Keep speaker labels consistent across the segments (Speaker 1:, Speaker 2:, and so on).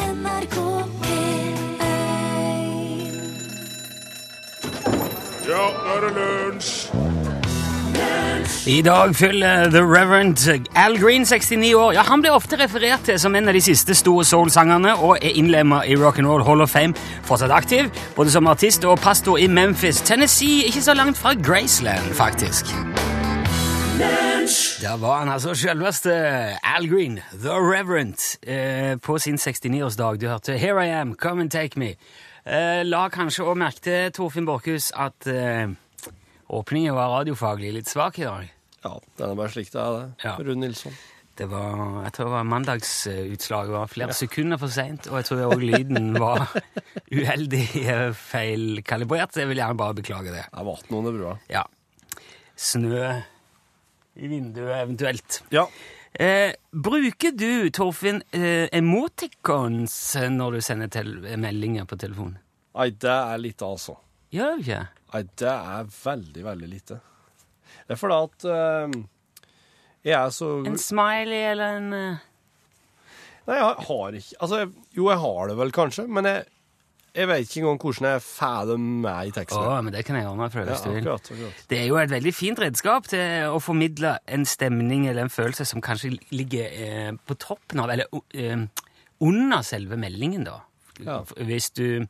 Speaker 1: NRK P1
Speaker 2: Ja, nå er det lunsj!
Speaker 3: I dag fyller The Reverend Al Green 69 år. Ja, Han blir ofte referert til som en av de siste store soul-sangerne og er innlemma i Rock'n'Roll Hall of Fame. Fortsatt aktiv, både som artist og pastor i Memphis, Tennessee, ikke så langt fra Graceland, faktisk. Der var han altså selveste Al Green, The Reverend, eh, på sin 69-årsdag. Du hørte Here I Am, Come and Take Me. Eh, la kanskje òg merke til, Torfinn Borchhus, at eh, åpningen var radiofaglig litt svak i dag.
Speaker 4: Ja, den er bare slik det er, det.
Speaker 3: Ja.
Speaker 4: Rune Nilsson.
Speaker 3: Det var, jeg tror det var mandagsutslaget var flere sekunder for seint, og jeg tror òg lyden var uheldig eh, feilkalibrert. Jeg vil gjerne bare beklage det.
Speaker 4: Det var 18 under brua.
Speaker 3: Ja. Snø i vinduet eventuelt.
Speaker 4: Ja.
Speaker 3: Eh, bruker du, Torfinn, eh, emoticons når du sender tel meldinger på telefonen?
Speaker 4: Nei, det er lite, altså.
Speaker 3: Gjør du ikke?
Speaker 4: Nei, det er veldig, veldig lite. Det er fordi at eh, jeg er så
Speaker 3: En smiley eller en eh,
Speaker 4: Nei, jeg har ikke Altså, jeg, jo, jeg har det vel kanskje, men jeg, jeg vet ikke engang hvordan jeg får dem med i
Speaker 3: Å,
Speaker 4: teksten.
Speaker 3: men det kan jeg ordne for deg
Speaker 4: ja,
Speaker 3: hvis du vil.
Speaker 4: akkurat, akkurat.
Speaker 3: Det er jo et veldig fint redskap til å formidle en stemning eller en følelse som kanskje ligger eh, på toppen av, eller eh, under selve meldingen, da.
Speaker 4: Ja.
Speaker 3: Hvis du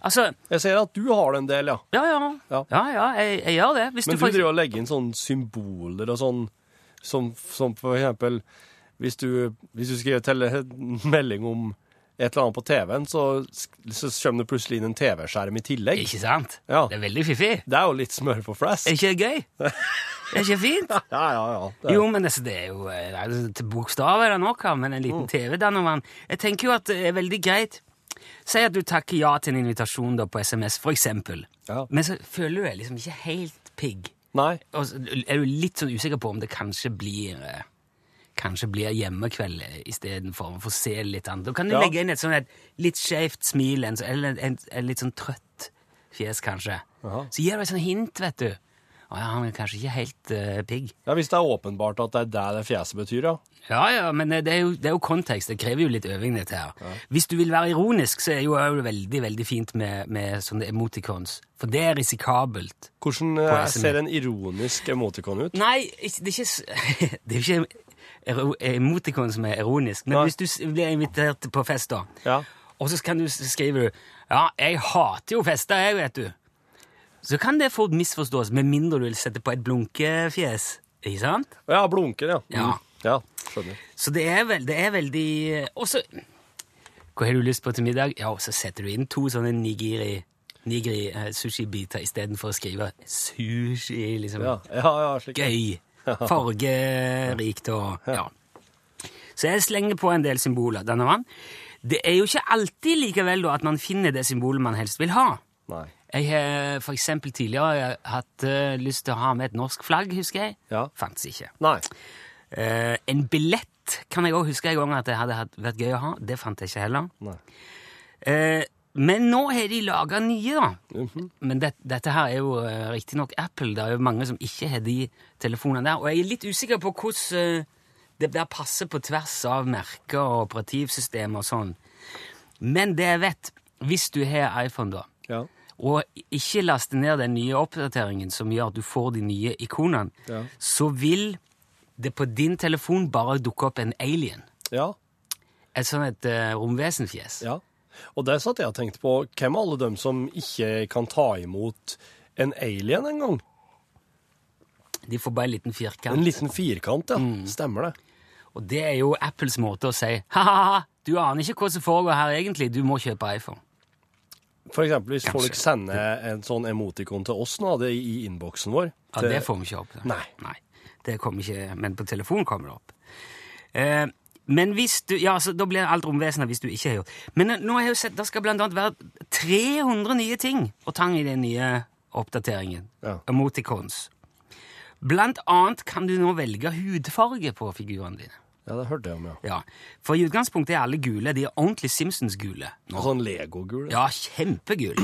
Speaker 3: Altså,
Speaker 4: Jeg ser at du har det en del, ja.
Speaker 3: ja ja, ja,
Speaker 4: Ja.
Speaker 3: ja jeg, jeg gjør det. Hvis
Speaker 4: Men du
Speaker 3: får-
Speaker 4: driver og legger inn sånne symboler og sånn, som, som for eksempel hvis du, hvis du skriver til en melding om et eller annet på TV-en, så, sk- så kommer det plutselig inn en TV-skjerm i tillegg.
Speaker 3: Ikke sant?
Speaker 4: Ja.
Speaker 3: Det er veldig fiffig.
Speaker 4: Det er jo litt smør på flesk.
Speaker 3: Er ikke det gøy? Er ikke det fint?
Speaker 4: Ja, ja, ja. Det er-
Speaker 3: Jo, men altså, det er jo eh, altså, Til bokstav er det nok av, men en
Speaker 4: Mm.
Speaker 3: liten TV da, når man Jeg tenker jo at det er veldig greit. Si at du takker ja til en invitasjon da på SMS, for eksempel.
Speaker 4: Ja.
Speaker 3: Men så føler du deg liksom ikke helt pigg.
Speaker 4: Nei.
Speaker 3: Og så er du litt sånn usikker på om det kanskje blir eh, Kanskje blir hjemmekveld eh, istedenfor å få se det litt annet. Da kan du
Speaker 4: Ja.
Speaker 3: legge inn et sånn et litt skjevt smil, en, så- eller en, en litt sånn trøtt fjes, kanskje.
Speaker 4: Jaha.
Speaker 3: Så gir du et sånt hint, vet du. Å ja, han er kanskje ikke helt eh, pigg.
Speaker 4: Ja, hvis det er åpenbart at det er det det fjeset betyr, ja.
Speaker 3: Ja, ja, men eh, det er, jo, det er jo kontekst. Det krever jo litt øving, dette her. Hvis du vil være ironisk, så er jo er det veldig veldig fint med, med sånne emoticons. For det er risikabelt.
Speaker 4: Hvordan
Speaker 3: På
Speaker 4: eh,
Speaker 3: SMS.
Speaker 4: ser en ironisk emotikon ut?
Speaker 3: Nei, ikke- det er ikke, s- det er jo ikke ero- emoticon som er ironisk. Men
Speaker 4: Nei.
Speaker 3: hvis du s- blir invitert på fest, da,
Speaker 4: Ja.
Speaker 3: og så kan du, s- skriver du Ja, jeg hater jo fester, jeg, vet du. Så kan det fort misforstås, med mindre du vil sette på et blunkefjes. Ikke sant?
Speaker 4: Ja, blunker, ja.
Speaker 3: Ja.
Speaker 4: Mm. Ja, skjønner.
Speaker 3: Så det er, vel, det er veldig Og så Hva har du lyst på til middag? Ja, og så setter du inn to sånne nigiri Nigiri eh, sushi-biter istedenfor å skrive sushi, liksom.
Speaker 4: Ja, ja, ja slik.
Speaker 3: Gøy. Fargerikt og Ja. Så jeg slenger på en del symboler. denne vann. Det er jo ikke alltid likevel da, at man finner det symbolet man helst vil ha.
Speaker 4: Nei.
Speaker 3: Jeg har for eksempel tidligere hatt eh, lyst til å ha med et norsk flagg, husker jeg.
Speaker 4: Ja.
Speaker 3: Fantes ikke.
Speaker 4: Nei.
Speaker 3: Eh, en billett kan jeg òg huske en gang at det hadde hatt- vært gøy å ha. Det fant jeg ikke heller.
Speaker 4: Nei.
Speaker 3: Eh, men nå har de laga nye, da.
Speaker 4: Mhm.
Speaker 3: Men det, dette her er jo uh, riktignok Apple. Det er jo mange som ikke har de telefonene der. Og jeg er litt usikker på hvordan eh, det der passer på tvers av merker og operativsystemer og sånn. Men det jeg vet, hvis du har iPhone, da,
Speaker 4: Ja.
Speaker 3: og ikke laste ned den nye oppdateringen som gjør at du får de nye ikonene,
Speaker 4: Ja.
Speaker 3: så vil det på din telefon bare dukke opp en alien.
Speaker 4: Ja.
Speaker 3: Et sånn et eh, romvesenfjes.
Speaker 4: Ja, og der satt jeg og tenkte på hvem alle dem som ikke kan ta imot en alien en gang.
Speaker 3: De får bare en liten firkant.
Speaker 4: En liten firkant, ja.
Speaker 3: Mm.
Speaker 4: Stemmer det.
Speaker 3: Og det er jo Apples måte å si ha-ha-ha, du aner ikke hva som foregår her egentlig, du må kjøpe iPhone.
Speaker 4: For eksempel hvis
Speaker 3: Kanskje.
Speaker 4: folk sender en sånn emotikon til oss nå, det er i innboksen vår.
Speaker 3: Ja, det får vi ikke opp. da.
Speaker 4: Nei.
Speaker 3: Det kommer ikke, men på telefon kommer det opp. Eh, men hvis du, ja, så Da blir alt romvesener hvis du ikke har gjort Men eh, nå har jeg jo sett, det skal blant annet være 300 nye ting og tang i den nye oppdateringen.
Speaker 4: Ja.
Speaker 3: Emoticons. Blant annet kan du nå velge hudfarge på figurene dine.
Speaker 4: Ja, det hørte jeg om, ja.
Speaker 3: Ja, For i utgangspunktet er alle gule. De er ordentlig Simpsons-gule. nå.
Speaker 4: Og sånn legogul.
Speaker 3: Ja, kjempegul.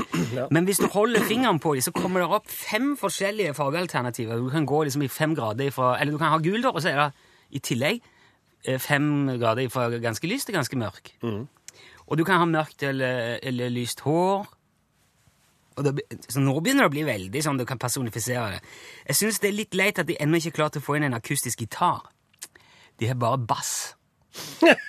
Speaker 3: Men hvis du holder fingeren på dem, så kommer det opp fem forskjellige fargealternativer. Du kan gå liksom i fem grader ifra Eller du kan ha gul, da, og så er det i tillegg eh, fem grader ifra ganske lys til ganske mørk. Og du kan ha mørkt eller, eller lyst hår. Og da, be- så nå begynner det å bli veldig sånn du kan personifisere det. Jeg syns det er litt leit at de ennå ikke har klart å få inn en akustisk gitar. De har bare bass. Jeg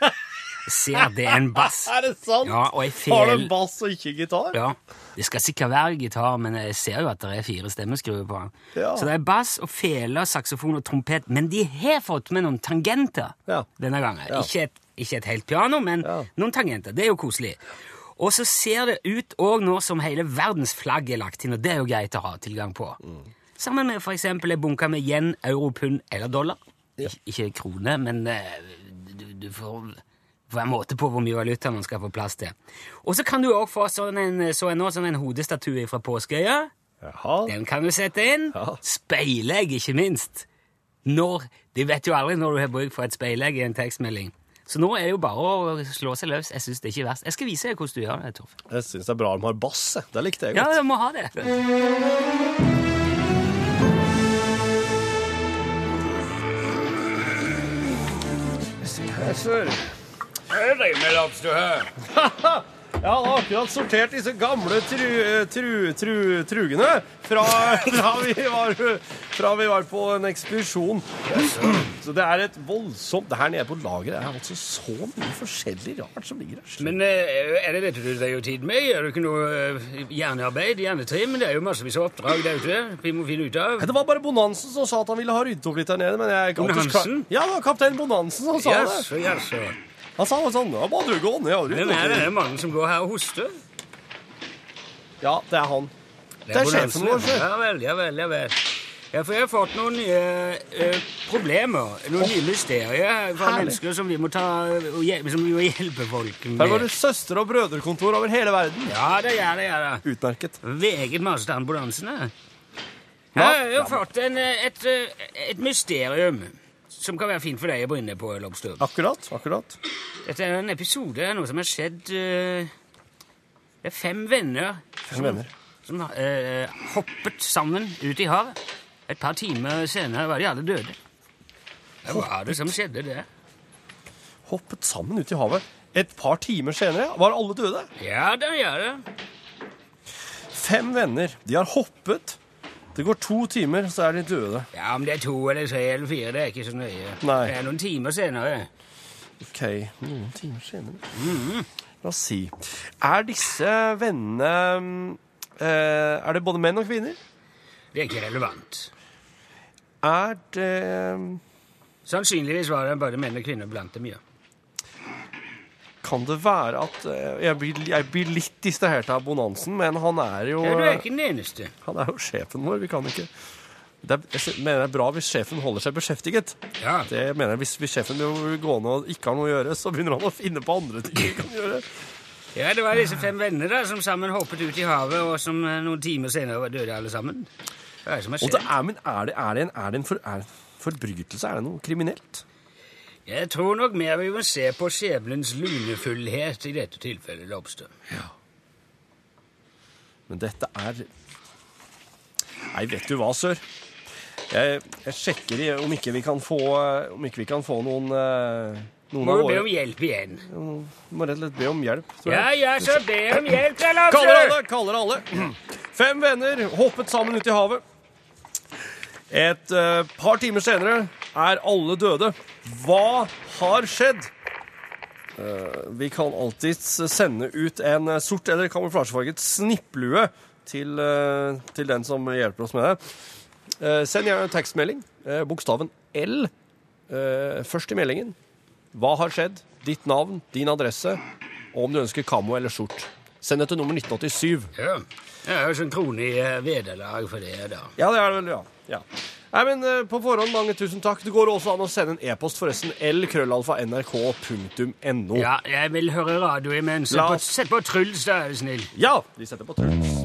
Speaker 3: ser at det er en bass.
Speaker 4: Er det sant?
Speaker 3: Ja, og jeg
Speaker 4: Har du
Speaker 3: fel...
Speaker 4: bass og ikke gitar?
Speaker 3: Ja, Det skal sikkert være gitar, men jeg ser jo at det er fire stemmeskruer på den.
Speaker 4: Ja.
Speaker 3: Så det er bass og fele, saksofon og trompet, men de har fått med noen tangenter
Speaker 4: Ja.
Speaker 3: denne gangen.
Speaker 4: Ja.
Speaker 3: Ikke, et, ikke et helt piano, men
Speaker 4: Ja.
Speaker 3: noen tangenter. Det er jo koselig. Og så ser det ut òg nå som hele verdens flagg er lagt inn, og det er jo greit å ha tilgang på. Sammen med f.eks. en bunke med yen, euro, pund eller dollar. Ik ikke krone, men eh, du, du får får en måte på hvor mye valuta man skal få plass til. Og så kan du òg få sånn en, så en, nå, sånn en hodestatue fra Påskeøya.
Speaker 4: Jaha.
Speaker 3: Den kan du sette inn.
Speaker 4: Ja.
Speaker 3: Speilegg, ikke minst. Når, De vet jo aldri når du har bruk for et speilegg i en tekstmelding. Så nå er det jo bare å slå seg løs. Jeg synes det er ikke verst. Jeg skal vise deg hvordan du gjør det, Torf.
Speaker 4: Jeg syns det er bra de har bass. jeg. Det likte jeg
Speaker 3: Ja,
Speaker 4: godt.
Speaker 3: du må ha det.
Speaker 4: Jeg hadde akkurat sortert disse gamle tru, eh, tru, tru, trugene fra, fra, vi var, fra vi var på en ekspedisjon. Så det er et voldsomt Det her nede på lageret er altså så mye forskjellig rart som ligger her.
Speaker 3: Men eh, er det dette du dreier jo tid med? Gjør du ikke noe eh, hjernearbeid, hjernetrim? Det er jo massevis av oppdrag der ute vi må finne ut av.
Speaker 4: Nei, Det var bare Bonansen som sa at han ville ha ryddet opp litt der nede. men jeg...
Speaker 3: Bonansen?
Speaker 4: Ja, det var kaptein Bonansen som sa det.
Speaker 3: jaså.
Speaker 4: Han sa det sånn Da må du gå ned og rydde opp litt.
Speaker 3: mannen som går her og hoster?
Speaker 4: Ja, det er han. Det er sjefen vår, sjef.
Speaker 3: Ja vel, ja vel. ja vel. Ja, for jeg har fått noen nye eh, problemer, noen nye mysterier fra
Speaker 4: herlig.
Speaker 3: mennesker som vi må ta og hje- som vi må hjelpe folk
Speaker 4: Her var
Speaker 3: med.
Speaker 4: det søster- og brødrekontor over hele verden.
Speaker 3: Ja, det gjør det. gjør det.
Speaker 4: Utmerket.
Speaker 3: Veget maste ambulansene.
Speaker 4: Ja,
Speaker 3: Ja, jeg
Speaker 4: ja.
Speaker 3: har fått en, eh, et, eh, et mysterium som kan være fint for deg å brenne på. Lobster.
Speaker 4: Akkurat. akkurat.
Speaker 3: Dette er en episode av noe som har skjedd eh, Det er fem venner
Speaker 4: Fem venner.
Speaker 3: som eh, hoppet sammen ut i havet. Et par timer senere var de alle døde. Hva var det som skjedde der?
Speaker 4: hoppet sammen ut i havet. Et par timer senere var alle døde.
Speaker 3: Ja da, ja da.
Speaker 4: Fem venner. De har hoppet. Det går to timer, så er de døde.
Speaker 3: Ja, Om det er to eller tre eller fire, det er ikke så nøye.
Speaker 4: Nei.
Speaker 3: Det er noen timer senere.
Speaker 4: Ok, noen timer senere. Mm, La oss si. Er disse vennene mm, eh, Er det både menn og kvinner?
Speaker 3: Det er ikke relevant.
Speaker 4: Er det mm,
Speaker 3: Sannsynligvis var det bare menn og kvinner blant dem, ja.
Speaker 4: Kan det være at eh, Jeg blir, jeg blir litt distrahert av Bonansen, men han er jo
Speaker 3: ja du er ikke den eneste.
Speaker 4: Han er jo sjefen vår. Vi kan ikke det er, Jeg mener det er bra hvis sjefen holder seg beskjeftiget.
Speaker 3: Ja,
Speaker 4: Det mener jeg, Hvis hvis sjefen vil gå ned og ikke har noe å gjøre, så begynner han å finne på andre ting vi kan gjøre.
Speaker 3: ja Det var disse fem venner da, som sammen hoppet ut i havet, og som eh, noen timer senere var døde alle sammen. Hva er det som har
Speaker 4: Og det
Speaker 3: skjedd?
Speaker 4: er, men er det, er det en, er det en, for, er det en forbrytelse? Er det noe kriminelt?
Speaker 3: Jeg tror nok mer vi må se på skjebnens lunefullhet i dette tilfellet, Lobster.
Speaker 4: Men dette er Nei, vet du hva, sør? Jeg, jeg sjekker i- om ikke vi kan få, om ikke vi kan få noen eh, noen
Speaker 3: Må
Speaker 4: av
Speaker 3: jo be om
Speaker 4: våre
Speaker 3: hjelp igjen.
Speaker 4: Må rett og slett be om hjelp. tror jeg.
Speaker 3: Ja, ja, så be om hjelp, da,
Speaker 4: Kaller
Speaker 3: Lobster!
Speaker 4: alle, kaller alle. Fem venner hoppet sammen ut i havet. Et eh, par timer senere er alle døde. Hva har skjedd? Eh, vi kan alltids sende ut en eh, sort eller kamuflasjefarget snipplue til, eh, til den som hjelper oss med det. Eh, send gjerne en tekstmelding. eh, bokstaven L eh, først i meldingen. Hva har skjedd? Ditt navn, din adresse, og om du ønsker kamo eller skjort. Send det til nummer 1987.
Speaker 3: Ja, det er jo sånn krone i eh, vederlag for det, da.
Speaker 4: Ja, det er det vel, ja. ja. Nei, men eh, På forhånd, mange tusen takk. Det går også an å sende en e-post, forresten. lkrøllalfa.nrk.no.
Speaker 3: Ja, jeg vil høre radio imens. Sett
Speaker 4: La
Speaker 3: på,
Speaker 4: oss-
Speaker 3: sett på Truls, da, er du snill.
Speaker 4: ja! Vi setter på trykk.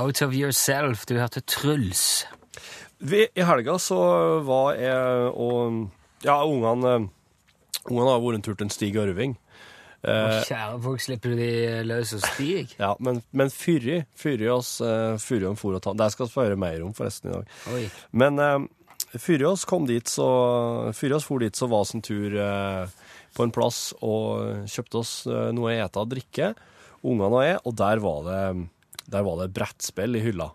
Speaker 3: Out of yourself, du hørte Truls.
Speaker 4: Vi, I helga så var eh, jeg og Ja, ungene Ungene har vært en tur til en Stig Ørving. Eh,
Speaker 3: Kjære folk, slipper du de eh, løs og stig?
Speaker 4: ja, men, men fyrig, fyrig oss, eh, fyrig om for å ta. Det skal vi få høre mer om forresten i dag.
Speaker 3: Oi.
Speaker 4: Men eh, Fyriås kom dit, så Fyriås for dit, så var oss en tur eh, på en plass og kjøpte oss eh, noe å ete og drikke, ungene og jeg, og der var det, der var det brettspill i hylla.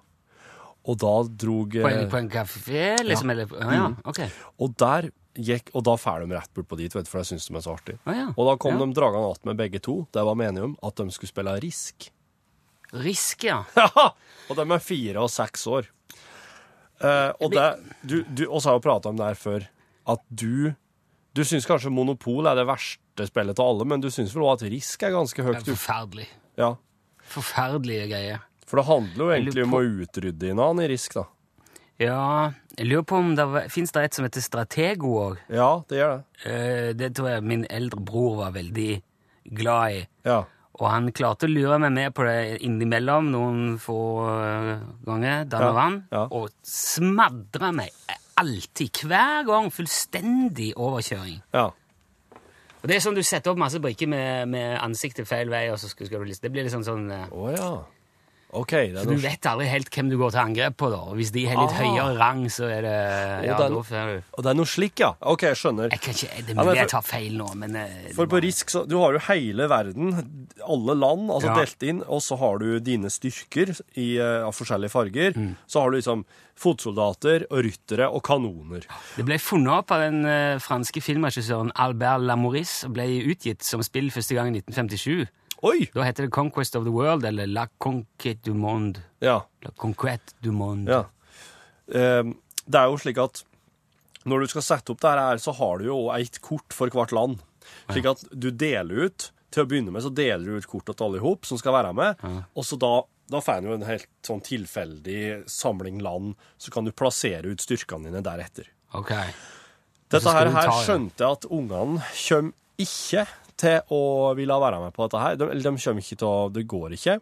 Speaker 4: Og da drog eh,
Speaker 3: På en, på en kafé, liksom? Eller, Å ja, ok.
Speaker 4: Og der gikk, og da fær de rett bort på dit, vet du, for jeg synes de er så artig.
Speaker 3: Å ja.
Speaker 4: Og da kom
Speaker 3: Ja.
Speaker 4: de dragene att med begge to, det var meningen om at de skulle spille risk.
Speaker 3: Risk, ja.
Speaker 4: og de er fire og seks år. Eh, og det, du, du oss har jo prata om det her før, at du Du syns kanskje Monopol er det verste spillet av alle, men du syns vel også at Risk er ganske
Speaker 3: Det
Speaker 4: høyt
Speaker 3: er
Speaker 4: oppe?
Speaker 3: forferdelig.
Speaker 4: Ja.
Speaker 3: Forferdelige greier.
Speaker 4: For det handler jo egentlig om å utrydde hverandre i Risk, da.
Speaker 3: Ja, jeg lurer på om det fins et som heter Stratego òg.
Speaker 4: Ja, det gjør det.
Speaker 3: Eh, Det tror jeg min eldre bror var veldig glad i.
Speaker 4: Ja.
Speaker 3: Og han klarte å lure meg med på det innimellom noen få eh, ganger. Dan
Speaker 4: Ja,
Speaker 3: og vann.
Speaker 4: ja.
Speaker 3: Og smadra meg alltid, hver gang, fullstendig overkjøring.
Speaker 4: ja.
Speaker 3: Og det er sånn du setter opp masse brikker med, med ansiktet feil vei, og så skal, skal du liksom Det blir liksom sånn eh,
Speaker 4: Å ja. OK. Det er
Speaker 3: Du
Speaker 4: norsk.
Speaker 3: vet aldri helt hvem du går til angrep på, da. Og hvis de har litt
Speaker 4: Ah.
Speaker 3: høyere rang, så er det Ja,
Speaker 4: den-
Speaker 3: da får du
Speaker 4: Og det er noe slik, ja. OK, jeg skjønner.
Speaker 3: Jeg kan ikke, Det er
Speaker 4: men
Speaker 3: mulig jeg
Speaker 4: for-
Speaker 3: tar feil nå, men eh,
Speaker 4: For på Risk, så, du har jo hele verden, alle land, altså
Speaker 3: Ja.
Speaker 4: delt inn, og så har du dine styrker i, eh, av forskjellige farger. Så har du liksom fotsoldater og ryttere og kanoner.
Speaker 3: Det ble funnet opp av den eh, franske filmregissøren Albert Lamouris og ble utgitt som spill første gang i 1957.
Speaker 4: Oi!
Speaker 3: Da heter det Conquest of the World, eller La Conquête du Monde.
Speaker 4: Ja,
Speaker 3: La Conquête du Monde.
Speaker 4: ja. Ehm, det er jo slik at når du skal sette opp det her, så har du jo et kort for hvert land. Slik at du deler ut, til å begynne med så deler du ut kortet til alle ihop som skal være med, og så da, da får du en helt sånn tilfeldig samling land, så kan du plassere ut styrkene dine deretter.
Speaker 3: Ok.
Speaker 4: Dette
Speaker 3: Så skal
Speaker 4: her,
Speaker 3: du
Speaker 4: her
Speaker 3: ta, ja.
Speaker 4: skjønte jeg at ungene kommer ikke til å ville være med på dette her. De, eller de kommer ikke til å Det går ikke.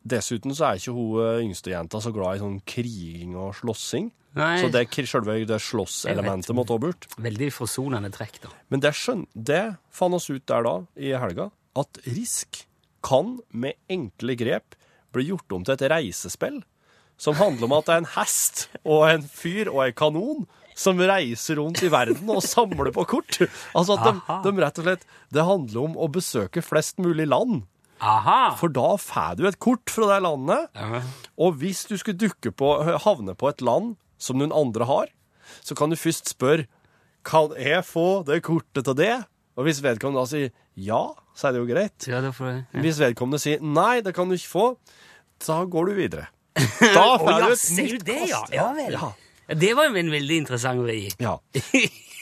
Speaker 4: Dessuten så er ikke hun eh, yngste jenta så glad i sånn kriging og slåssing.
Speaker 3: Nei.
Speaker 4: Så det, kri- selve det
Speaker 3: Jeg
Speaker 4: slåsselementet må ta bort.
Speaker 3: Veldig forsonende trekk, da.
Speaker 4: Men det, skjøn, det fant oss ut der da, i helga, at Risk kan med enkle grep bli gjort om til et reisespill som handler om at det er en hest og en fyr og en kanon som reiser rundt i verden og samler på kort. Altså at de,
Speaker 3: Aha.
Speaker 4: de rett og slett Det handler om å besøke flest mulig land.
Speaker 3: Aha!
Speaker 4: For da får du et kort fra det landet,
Speaker 3: Ja.
Speaker 4: og hvis du skulle dukke på, havne på et land som noen andre har, så kan du først spørre Kan jeg få det kortet til det? Og hvis vedkommende da sier ja, så er det jo greit.
Speaker 3: Ja, da får jeg...
Speaker 4: Hvis vedkommende sier nei, det kan du ikke få, da går du videre.
Speaker 3: Å,
Speaker 4: Da får du
Speaker 3: ja,
Speaker 4: et
Speaker 3: ser
Speaker 4: nytt
Speaker 3: du det, ja?
Speaker 4: kast.
Speaker 3: Ja vel.
Speaker 4: Ja.
Speaker 3: Ja, Det var jo en veldig interessant vri.
Speaker 4: Ja.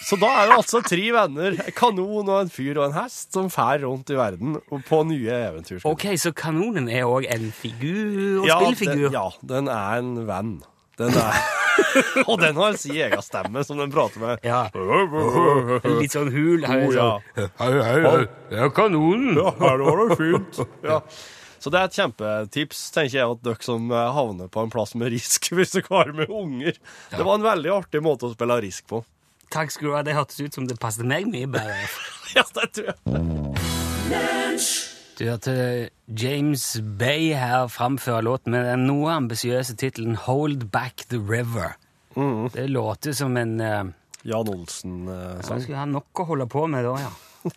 Speaker 4: Så da er det altså tre venner, en kanon og en fyr og en hest, som fær rundt i verden og på nye eventyr.
Speaker 3: Ok, så kanonen er òg en figur,
Speaker 4: Ja,
Speaker 3: spillfigur.
Speaker 4: Den, ja, den er en venn. Den er, og den har sin egen stemme som den prater med.
Speaker 3: Ja. Litt sånn hul. Her,
Speaker 4: Oh, ja.
Speaker 3: sånn. Hei, hei, hei. Det er kanonen.
Speaker 4: Ja, her var det fint. Ja. Så det er et kjempetips, tenker jeg, at dere som eh, havner på en plass med risk hvis dere har med unger. Det var en veldig artig måte å spille risk på.
Speaker 3: Takk skal du ha. Det hørtes ut som det passet meg mye bedre.
Speaker 4: Ja, det tror jeg.
Speaker 3: Du hørte James Bay her framføre låten med den noe ambisiøse tittelen Hold Back The River. Det låter som en eh,
Speaker 4: Jan eh, Olsen-sang.
Speaker 3: Man skulle ha nok å holde på med da, ja.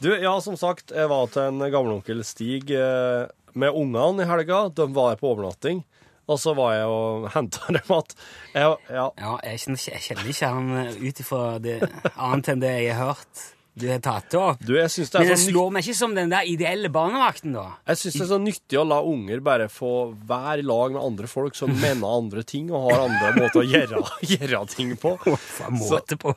Speaker 4: Du, ja, som sagt, jeg var til en gammelonkel Stig eh, med ungene i helga. De var på overnatting. Og så var jeg og henta dem at jeg, ja,
Speaker 3: ja jeg, kjenner ikke, jeg kjenner ikke han eh, ut ifra det annet enn det jeg har hørt du har tatt det sånn opp.
Speaker 4: Du, jeg syns det
Speaker 3: Men
Speaker 4: er
Speaker 3: det
Speaker 4: så nytt-
Speaker 3: slår meg ikke som den der ideelle barnevakten, da.
Speaker 4: Jeg syns det er så nyttig å la unger bare få være i lag med andre folk som mener andre ting og har andre måter å gjøre, gjøre ting på.
Speaker 3: Faen, måte på.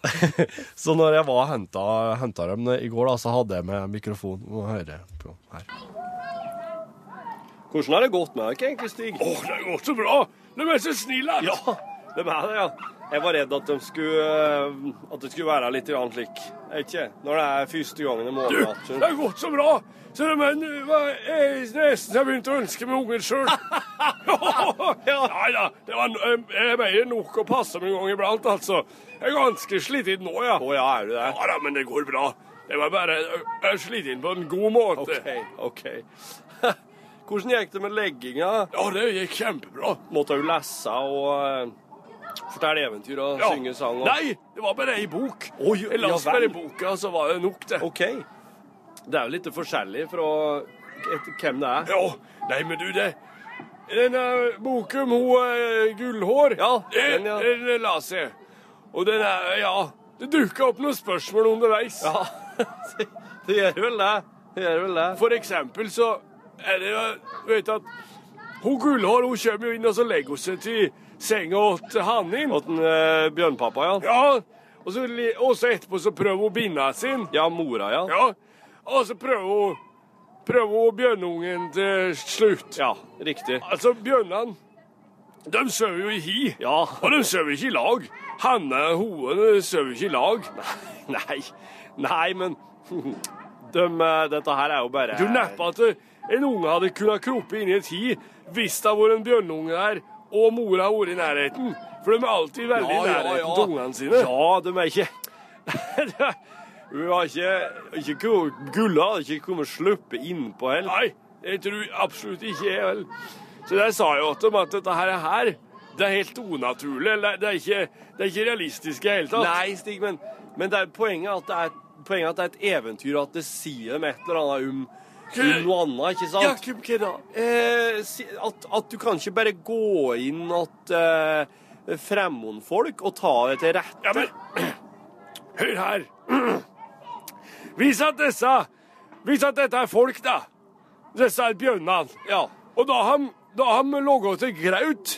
Speaker 4: Så når jeg var og henta, henta dem i går, da, så hadde jeg med mikrofon og høre på her. Hvordan har det gått med dere egentlig, Stig?
Speaker 2: Åh, det går så bra! Du er så snill at
Speaker 4: Ja, det er det, ja. Jeg var redd at, de skulle, eh, at det skulle være litt grann slik. Er ikke? Når det er første gangen i
Speaker 2: Du,
Speaker 4: måneden.
Speaker 2: det har gått så bra! Så det men, hva- jeg nesten har begynt å ønske meg unger sjøl. Nei da, det var eh, jeg mer enn nok å passe meg en gang iblant, altså. Jeg er ganske sliten nå, ja.
Speaker 4: Å ja, er du det?
Speaker 2: Ja da, men det går bra. Det var bare ø- øslet inn på en god måte.
Speaker 4: OK. ok. Hvordan gikk det med legginga?
Speaker 2: Ja, det gikk kjempebra.
Speaker 4: Måtte hun lese og eh, fortelle eventyr og
Speaker 2: Ja.
Speaker 4: synge sang? Og...
Speaker 2: Nei, det var bare ei bok.
Speaker 4: Oi,
Speaker 2: Jeg
Speaker 4: ja
Speaker 2: leste
Speaker 4: vel.
Speaker 2: bare boka, så var det nok, det.
Speaker 4: OK. Det er jo litt forskjellig fra et- hvem det er.
Speaker 2: Ja, nei, men du, det Denne boken om hun eh, Gullhår,
Speaker 4: Ja,
Speaker 2: den,
Speaker 4: den, ja.
Speaker 2: den las jeg. Og den er Ja. Det dukka opp noen spørsmål underveis.
Speaker 4: Ja, det gjør vel det. Det gjør vel det.
Speaker 2: For eksempel så er det jo Vet du at hun Gullhår hun kommer jo inn, og så legger hun seg til senga til hannen.
Speaker 4: Åt den eh, bjørnpappa, ja.
Speaker 2: Ja, og så, li- og så etterpå så prøver hun binda sin.
Speaker 4: Ja, mora, ja.
Speaker 2: Ja, og så prøver hun Prøver hun bjørnungen til slutt.
Speaker 4: Ja, riktig.
Speaker 2: Altså, bjørnene De sover jo i hi.
Speaker 4: Ja.
Speaker 2: Og de sover ikke i lag. Hanne og hoene sover ikke i lag.
Speaker 4: Nei, nei, men Døm, eh, dette her er jo bare
Speaker 2: Du neppe at eh, en unge hadde kunnet krope inn i et hi hvis det hadde vært en bjørnunge der, og mora hadde vært i nærheten. For de er alltid veldig i nærheten til ungene sine.
Speaker 4: Ja, de er ikke Hun har ikke, ikke ko- Gulla hadde ikke kommet sluppe innpå heller.
Speaker 2: Nei, jeg tror absolutt ikke jeg vel. Så der sa jo til dem at dette her er her. Det er helt unaturlig. eller Det er ikke, det er ikke realistisk i det hele tatt.
Speaker 4: Nei, Stig, men, men det er poenget at det er Poenget at det er et eventyr, at det sier dem et eller annet om, om noe annet, ikke sant?
Speaker 2: Jakob, hva da?
Speaker 4: Eh, si- at, at du kan ikke bare gå inn at eh, fremmedfolk og ta det til rette.
Speaker 2: Ja, men Hør her. Hvis at disse Hvis at dette er folk, da. Disse er bjørnene.
Speaker 4: Ja.
Speaker 2: Og da har de ham ligget til graut,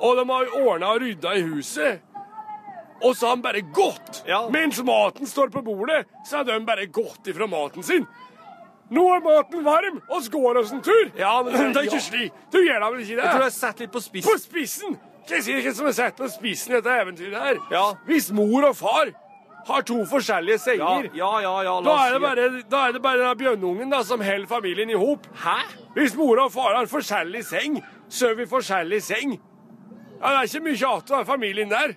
Speaker 2: og de har ordna og rydda i huset. Og så har han bare gått.
Speaker 4: Ja.
Speaker 2: Mens maten står på bordet, så har de bare gått ifra maten sin. Nå er maten varm, og så går oss en tur.
Speaker 4: Ja, men-
Speaker 2: det er ikke
Speaker 4: ja.
Speaker 2: slik. Du gjør da vel ikke det?
Speaker 4: Jeg tror jeg har satt litt på spissen.
Speaker 2: På spissen! Jeg sier ikke som er satt på spissen i dette eventyret her.
Speaker 4: Ja.
Speaker 2: Hvis mor og far har to forskjellige
Speaker 4: Ja,
Speaker 2: senger,
Speaker 4: ja, ja, ja,
Speaker 2: da,
Speaker 4: la oss
Speaker 2: er det
Speaker 4: si
Speaker 2: bare, da er det bare denne bjørnungen da, som holder familien i hop.
Speaker 4: Hæ?
Speaker 2: Hvis mor og far har forskjellig seng, sover i forskjellig seng. Ja, Det er ikke mye tjat av familien der.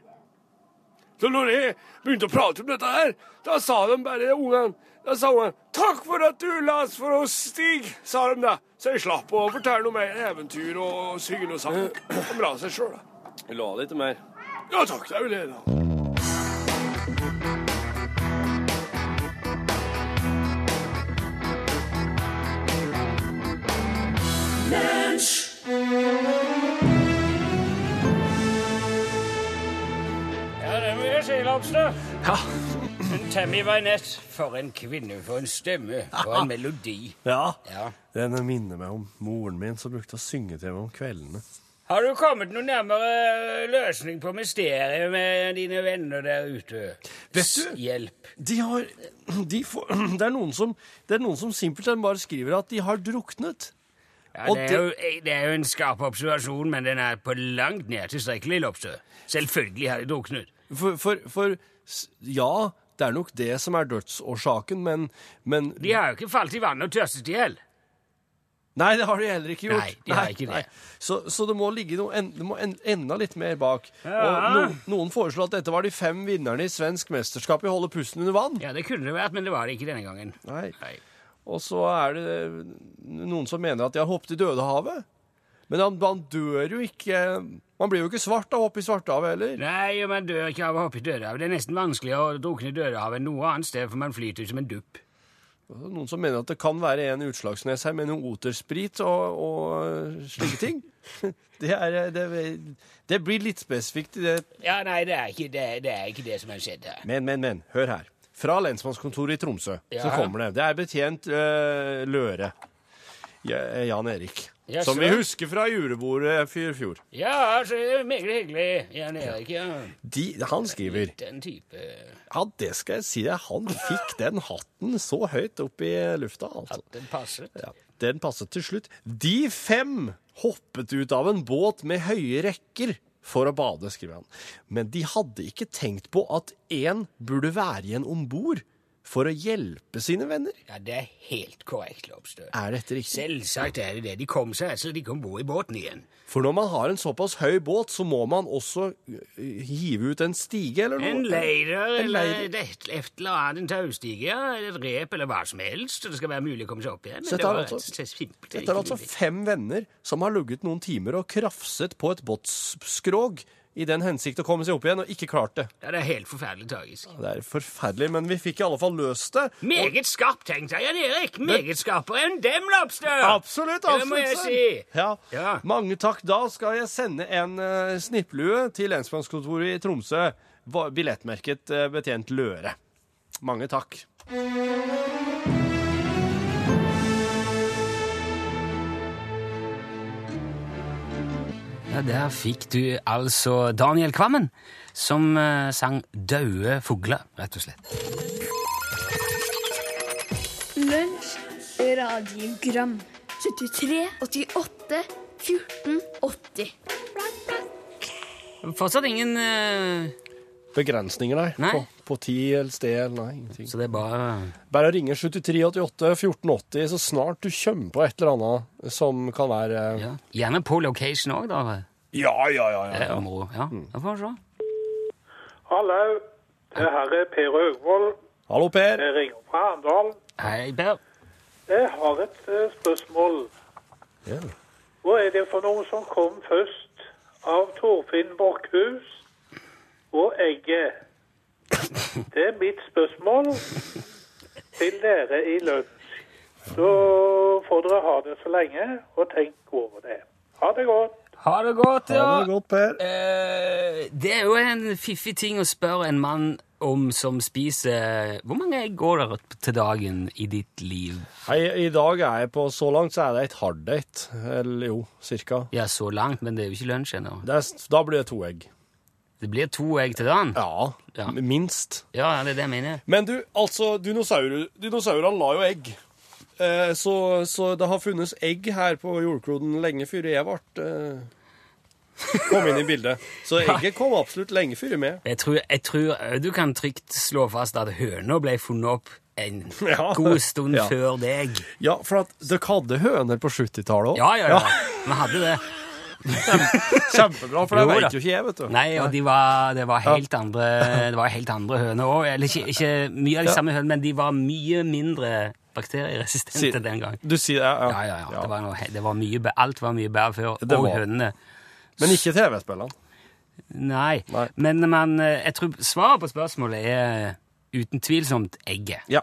Speaker 2: Så når jeg begynte å prate om dette her, da sa de bare ungene Da sa ungene 'Takk for at du la oss for oss, Stig', sa de da. Så jeg slapp å fortelle noe mer eventyr og synge noe sang. De la seg sjøl, da.
Speaker 4: La litt mer.
Speaker 2: Ja takk, det er vel det, da.
Speaker 3: Ja, det må jeg si, Lobster. Men Tammy Wynette, for en kvinne, for en stemme, for en melodi.
Speaker 4: Ja.
Speaker 3: Ja.
Speaker 4: Den minner meg om moren min som brukte å synge til meg om kveldene.
Speaker 3: Har du kommet noe nærmere løsning på mysteriet med dine venner der ute?
Speaker 4: Vet du-
Speaker 3: S- Hjelp.
Speaker 4: De har de får, det, er noen som, det er noen som simpelthen bare skriver at de har druknet.
Speaker 3: Ja,
Speaker 4: Og
Speaker 3: det, er jo, eh, det er jo en skarp observasjon, men den er på langt nær tilstrekkelig, Lobster. Selvfølgelig har de druknet.
Speaker 4: For, for, for s- ja, det er nok det som er dødsårsaken, men, men
Speaker 3: De har jo ikke falt i vannet og tørstet i hjel.
Speaker 4: Nei, det har de heller ikke gjort.
Speaker 3: Nei, de har ikke det.
Speaker 4: Så, så det må ligge noe en, det må en, enda litt mer bak. Og
Speaker 3: Ja.
Speaker 4: no, noen foreslår at dette var de fem vinnerne i svensk mesterskap i å holde pusten under vann.
Speaker 3: Ja, det kunne det vært, men det var det ikke denne gangen.
Speaker 4: Nei.
Speaker 3: Nei.
Speaker 4: Og så er det noen som mener at de har hoppet i Dødehavet. Men han, han dør jo ikke Man blir jo ikke svart av å hoppe i Svartehavet heller.
Speaker 3: Nei, og man dør ikke av å hoppe i Dødehavet. Det er nesten vanskeligere å drukne i Dødehavet enn noe annet sted, for man flyter som en dupp.
Speaker 4: Noen som mener at det kan være en utslagsnes her med noe otersprit og, og slike ting. Det, er, det, det blir litt spesifikt i det
Speaker 3: Ja, nei, det er ikke det, det, er ikke det som har skjedd her.
Speaker 4: Men, men, men, hør her. Fra lensmannskontoret i Tromsø så
Speaker 3: Ja.
Speaker 4: kommer det. Det er betjent øh, Løre. Ja, eh, Jan Erik.
Speaker 3: Ja,
Speaker 4: som
Speaker 3: så.
Speaker 4: vi husker fra julebordet for i fjor.
Speaker 3: Ja, altså, det er meget hyggelig, Jan Erik. Ja.
Speaker 4: De, han skriver
Speaker 3: Den type
Speaker 4: Ja, det skal jeg si deg. Han fikk den hatten så høyt opp i lufta, altså.
Speaker 3: at den passet.
Speaker 4: Ja, den passet til slutt. De fem hoppet ut av en båt med høye rekker for å bade, skriver han. Men de hadde ikke tenkt på at én burde være igjen om bord for å hjelpe sine venner.
Speaker 1: Ja, det er helt korrekt, Lobster.
Speaker 4: Er dette riktig?
Speaker 1: Selvsagt er det det. De kom seg altså, de kom bo i båten igjen.
Speaker 4: For når man har en såpass høy båt, så må man også eh, hive ut en stige eller noe.
Speaker 1: En leider
Speaker 4: En
Speaker 1: eller
Speaker 4: leider.
Speaker 1: et et eller annet, en taustige, ja, eller et rep eller hva som helst. og Det skal være mulig å komme seg opp igjen. men
Speaker 4: Så dette
Speaker 1: det
Speaker 4: er
Speaker 1: var
Speaker 4: altså-
Speaker 1: rett og slett simpelt
Speaker 4: Dette er
Speaker 1: ikke
Speaker 4: altså
Speaker 1: mulig.
Speaker 4: fem venner som har ligget noen timer og krafset på et båtsskrog i den hensikt å komme seg opp igjen, og ikke klart det.
Speaker 1: Ja, det er helt forferdelig tragisk.
Speaker 4: Det er forferdelig, men vi fikk i alle fall løst det.
Speaker 1: Meget skarpt tenkt av Jan Erik. Meget skarpere enn dem, Lobster!
Speaker 4: Absolutt, absolutt.
Speaker 1: Det må jeg
Speaker 4: Svein.
Speaker 1: si.
Speaker 4: Ja.
Speaker 1: Ja.
Speaker 4: Mange takk. Da skal jeg sende en eh, snipplue til lensmannskontoret i Tromsø, va- billettmerket eh, betjent Løre. Mange takk.
Speaker 3: Ja, Der fikk du altså Daniel Kvammen, som eh, sang Daue fugler, rett og slett.
Speaker 5: Lunsj, radiogram 73, 88, 14, 80
Speaker 3: Fortsatt ingen eh,
Speaker 4: Begrensninger, nei.
Speaker 3: Nei.
Speaker 4: På, på tid eller sted eller nei, ingenting.
Speaker 3: Så det er bare
Speaker 4: Bare ringe 7388 1480 så snart du kommer på et eller annet som kan være eh,
Speaker 3: ja. Gjerne på location òg, da.
Speaker 4: Ja, ja, ja. ja.
Speaker 3: Det er moro. Ja, da får vi se.
Speaker 6: Hallo, det her er Per Øgvold.
Speaker 4: Hallo, Per.
Speaker 6: Jeg ringer fra Arendal.
Speaker 3: Hei, Per.
Speaker 6: Jeg har et eh, spørsmål.
Speaker 4: Ja.
Speaker 6: Hva er det for noe som kom først av Torfinn Borkhus og egget? Det er mitt spørsmål til dere i lunsj. Så får dere ha det så lenge, og tenk over det. Ha det godt.
Speaker 3: Ha det godt, ja.
Speaker 4: Ha det godt, Per.
Speaker 3: Eh, det er jo en fiffig ting å spørre en mann om som spiser Hvor mange egg går det til dagen i ditt liv?
Speaker 4: Hei, I dag er jeg på Så langt så er det et harddate. Eller jo, cirka.
Speaker 3: Ja, så langt, men det er jo ikke lunsj ennå.
Speaker 4: Det er, s- da blir det to egg.
Speaker 3: Det blir to egg til dagen.
Speaker 4: Ja,
Speaker 3: Ja.
Speaker 4: minst.
Speaker 3: Ja, det er det jeg mener.
Speaker 4: Men du, altså, dinosaurer, dinosaurene la jo egg. Eh, så, så det har funnes egg her på jordkloden lenge før jeg ble eh, kom inn i bildet. Så egget kom absolutt lenge før jeg med.
Speaker 3: Jeg tror, jeg tror eh, du kan trygt slå fast at høna ble funnet opp en
Speaker 4: Ja.
Speaker 3: god stund
Speaker 4: Ja.
Speaker 3: før deg.
Speaker 4: Ja, for at dere hadde høner på 70-tallet òg.
Speaker 3: Ja, ja, ja. Vi hadde det.
Speaker 4: Kjempebra, for det
Speaker 3: Jo da.
Speaker 4: vet jo ikke jeg, vet du.
Speaker 3: Nei, og de var, det var helt andre Det var helt andre høner òg. Eller ikke, ikke mye av de
Speaker 4: Ja.
Speaker 3: samme hønene, men de var mye mindre
Speaker 4: Si-
Speaker 3: bakterieresistente den gang.
Speaker 4: Du sier ja,
Speaker 3: Ja, ja, ja. Det var, noe, he- det var mye, bæ- alt var mye bedre før.
Speaker 4: Det
Speaker 3: Og
Speaker 4: var-
Speaker 3: hønene.
Speaker 4: Men ikke TV-spillene.
Speaker 3: Nei.
Speaker 4: Nei.
Speaker 3: Men man, eh, jeg tror svaret på spørsmålet er eh, uten tvilsomt egget.
Speaker 4: Ja.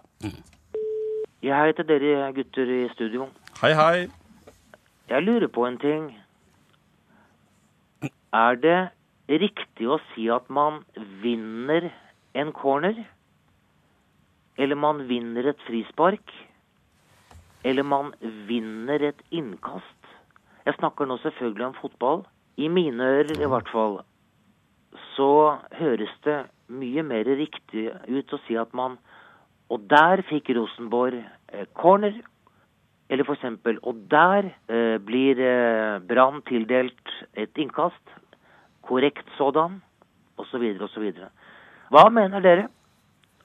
Speaker 7: Ja, hei til dere gutter i studio.
Speaker 4: Hei, hei.
Speaker 7: Jeg lurer på en ting. Er det riktig å si at man vinner en corner? Eller man vinner et frispark? Eller man vinner et innkast? Jeg snakker nå selvfølgelig om fotball. I mine ører i hvert fall så høres det mye mer riktig ut å si at man Og der fikk Rosenborg eh, corner, eller for eksempel, og der eh, blir eh, Brann tildelt et innkast, korrekt sådan, osv., osv. Hva mener dere?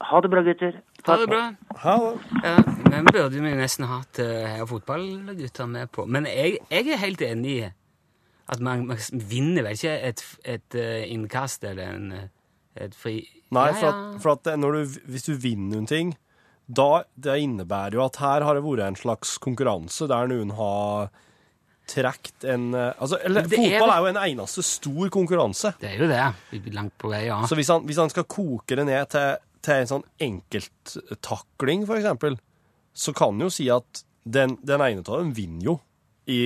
Speaker 7: Ha det bra, gutter.
Speaker 3: Ha det bra.
Speaker 4: Ha det.
Speaker 3: Ja, men burde vi nesten hatt eh, her fotballgutter med på. Men jeg, jeg er helt enig i at man, man vinner vel ikke et, f- et eh, innkast eller en, eh, et fri...
Speaker 4: Nei,
Speaker 3: Ja,
Speaker 4: for
Speaker 3: ja.
Speaker 4: at, for at det- når du, hvis du vinner noen ting, da det innebærer jo at her har det vært en slags konkurranse der noen har trukket en eh, altså, eller,
Speaker 3: Men det er
Speaker 4: Fotball
Speaker 3: vel-
Speaker 4: er jo en eneste stor konkurranse.
Speaker 3: Det er jo det. Vi er Langt på vei, ja.
Speaker 4: Så hvis han, hvis han skal koke det ned til, til en sånn enkelttakling, for eksempel, så kan han jo si at den, den ene av dem vinner jo i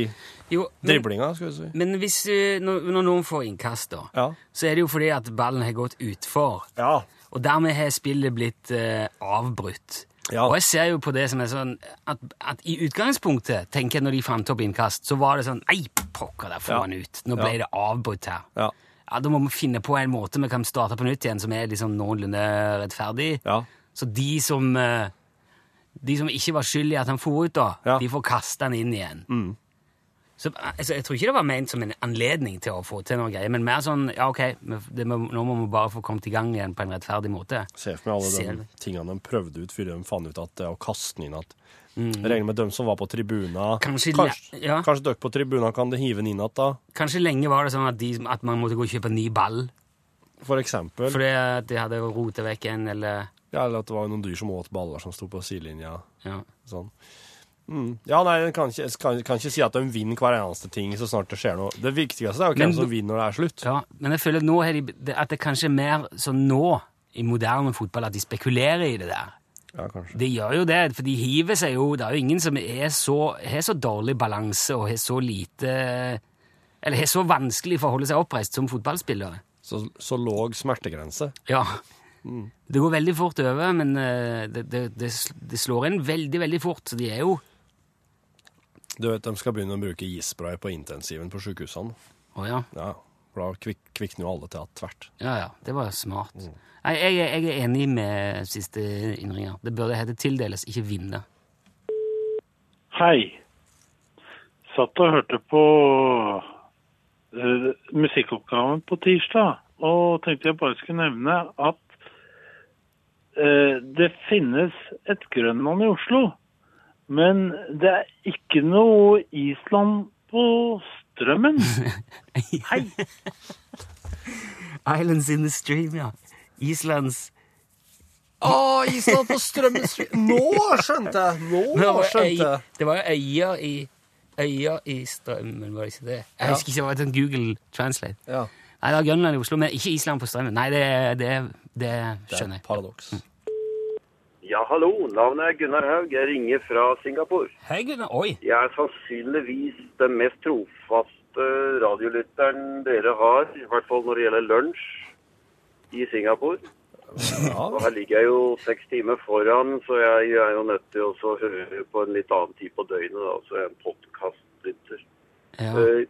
Speaker 3: Jo, men,
Speaker 4: driblinga, skal vi si.
Speaker 3: men hvis, eh, når, når noen får innkast, da,
Speaker 4: Ja.
Speaker 3: så er det jo fordi at ballen har gått utfor.
Speaker 4: Ja.
Speaker 3: Og dermed har spillet blitt eh, avbrutt.
Speaker 4: Ja.
Speaker 3: Og jeg ser jo på det som er sånn at, at i utgangspunktet, tenker jeg når de fant opp innkast, så var det sånn Nei, pokker, der får
Speaker 4: Ja.
Speaker 3: han ut. Nå ble
Speaker 4: Ja.
Speaker 3: det avbrutt her.
Speaker 4: Ja.
Speaker 3: Ja, Da må vi finne på en måte vi kan starte på nytt igjen som er liksom noenlunde rettferdig.
Speaker 4: Ja.
Speaker 3: Så de som eh, De som ikke var skyld i at han for ut, da,
Speaker 4: Ja.
Speaker 3: de får kaste han inn igjen. Så, altså, jeg tror ikke det var ment som en anledning til å få til noe greier, men mer sånn ja, ok, vi- det, må- nå må vi bare få kommet i gang igjen på en rettferdig måte.
Speaker 4: Se for meg alle
Speaker 3: Ser
Speaker 4: de
Speaker 3: vi.
Speaker 4: tingene de prøvde ut før de fant ut at det å kaste den inn at
Speaker 3: Mm.
Speaker 4: Jeg regner med dem som var på tribuna
Speaker 3: Kanskje
Speaker 4: kanskje,
Speaker 3: le- ja.
Speaker 4: kanskje dere på tribuna kan hive den inn igjen, da?
Speaker 3: Kanskje lenge var det sånn at, de, at man måtte gå og kjøpe en ny ball
Speaker 4: For eksempel.
Speaker 3: fordi at de hadde rotet vekk en, eller
Speaker 4: Ja, eller at det var noen dyr som åt baller som sto på sidelinja.
Speaker 3: ja.
Speaker 4: Sånn. Mm. Ja, nei, jeg kan ikke, jeg kan, kan ikke si at de vinner hver eneste ting så snart det skjer noe. Det viktigste er jo
Speaker 3: Men
Speaker 4: hvem som
Speaker 3: du-
Speaker 4: vinner når det er slutt.
Speaker 3: ja. Men jeg føler nå har de, det- at det kanskje er mer sånn nå i moderne fotball at de spekulerer i det der.
Speaker 4: Ja, kanskje.
Speaker 3: De gjør jo det, for de hiver seg jo. Det er jo ingen som er så, har så dårlig balanse og har så lite Eller har så vanskelig for å holde seg oppreist som fotballspillere.
Speaker 4: Så, så låg smertegrense.
Speaker 3: Ja.
Speaker 4: Mm.
Speaker 3: Det går veldig fort over, men eh, det, det, det, sl- det slår inn veldig, veldig fort. Så de er jo
Speaker 4: Du vet, de skal begynne å bruke isspray på intensiven på sykehusene.
Speaker 3: Å ja.
Speaker 4: Ja, for da kvik, kvikner jo alle til at tvert.
Speaker 3: Ja ja, det var jo smart.
Speaker 4: Mm.
Speaker 3: Nei, jeg, er- jeg er enig med siste innringer. Det burde hete tildeles, ikke vinne.
Speaker 8: Hei. Satt og hørte på eh, musikkoppgaven på tirsdag, og tenkte jeg bare skulle nevne at eh, det finnes et Grønland i Oslo, men det er ikke noe Island på strømmen. Hei.
Speaker 3: Islands in the stream, ja. Islands
Speaker 4: Å, Island på strømmens Nå skjønte jeg!
Speaker 3: Men det
Speaker 4: Nå
Speaker 3: var jo øy- Det var jo øyer i Øyer i strømmen, var det ikke det? Jeg husker ikke, det var et sånt Google Translate.
Speaker 4: Ja,
Speaker 3: Nei, det var Grønland i Oslo, men ikke Island på strømmen. Nei, det, det, det
Speaker 4: det er
Speaker 3: skjønner
Speaker 4: et
Speaker 3: jeg.
Speaker 4: paradoks.
Speaker 9: Ja, hallo. Navnet er Gunnar Haug. Jeg ringer fra Singapore.
Speaker 3: Hei, Gunnar. Oi!
Speaker 9: Jeg er sannsynligvis den mest trofaste radiolytteren dere har, i hvert fall når det gjelder lunsj i Singapore.
Speaker 4: Ja,
Speaker 9: Og her ligger jeg jo seks timer foran, så jeg er jo nødt til også å høre på en litt annen tid på døgnet, da, så jeg er en podkastlytter.
Speaker 3: Ja.
Speaker 9: Eh,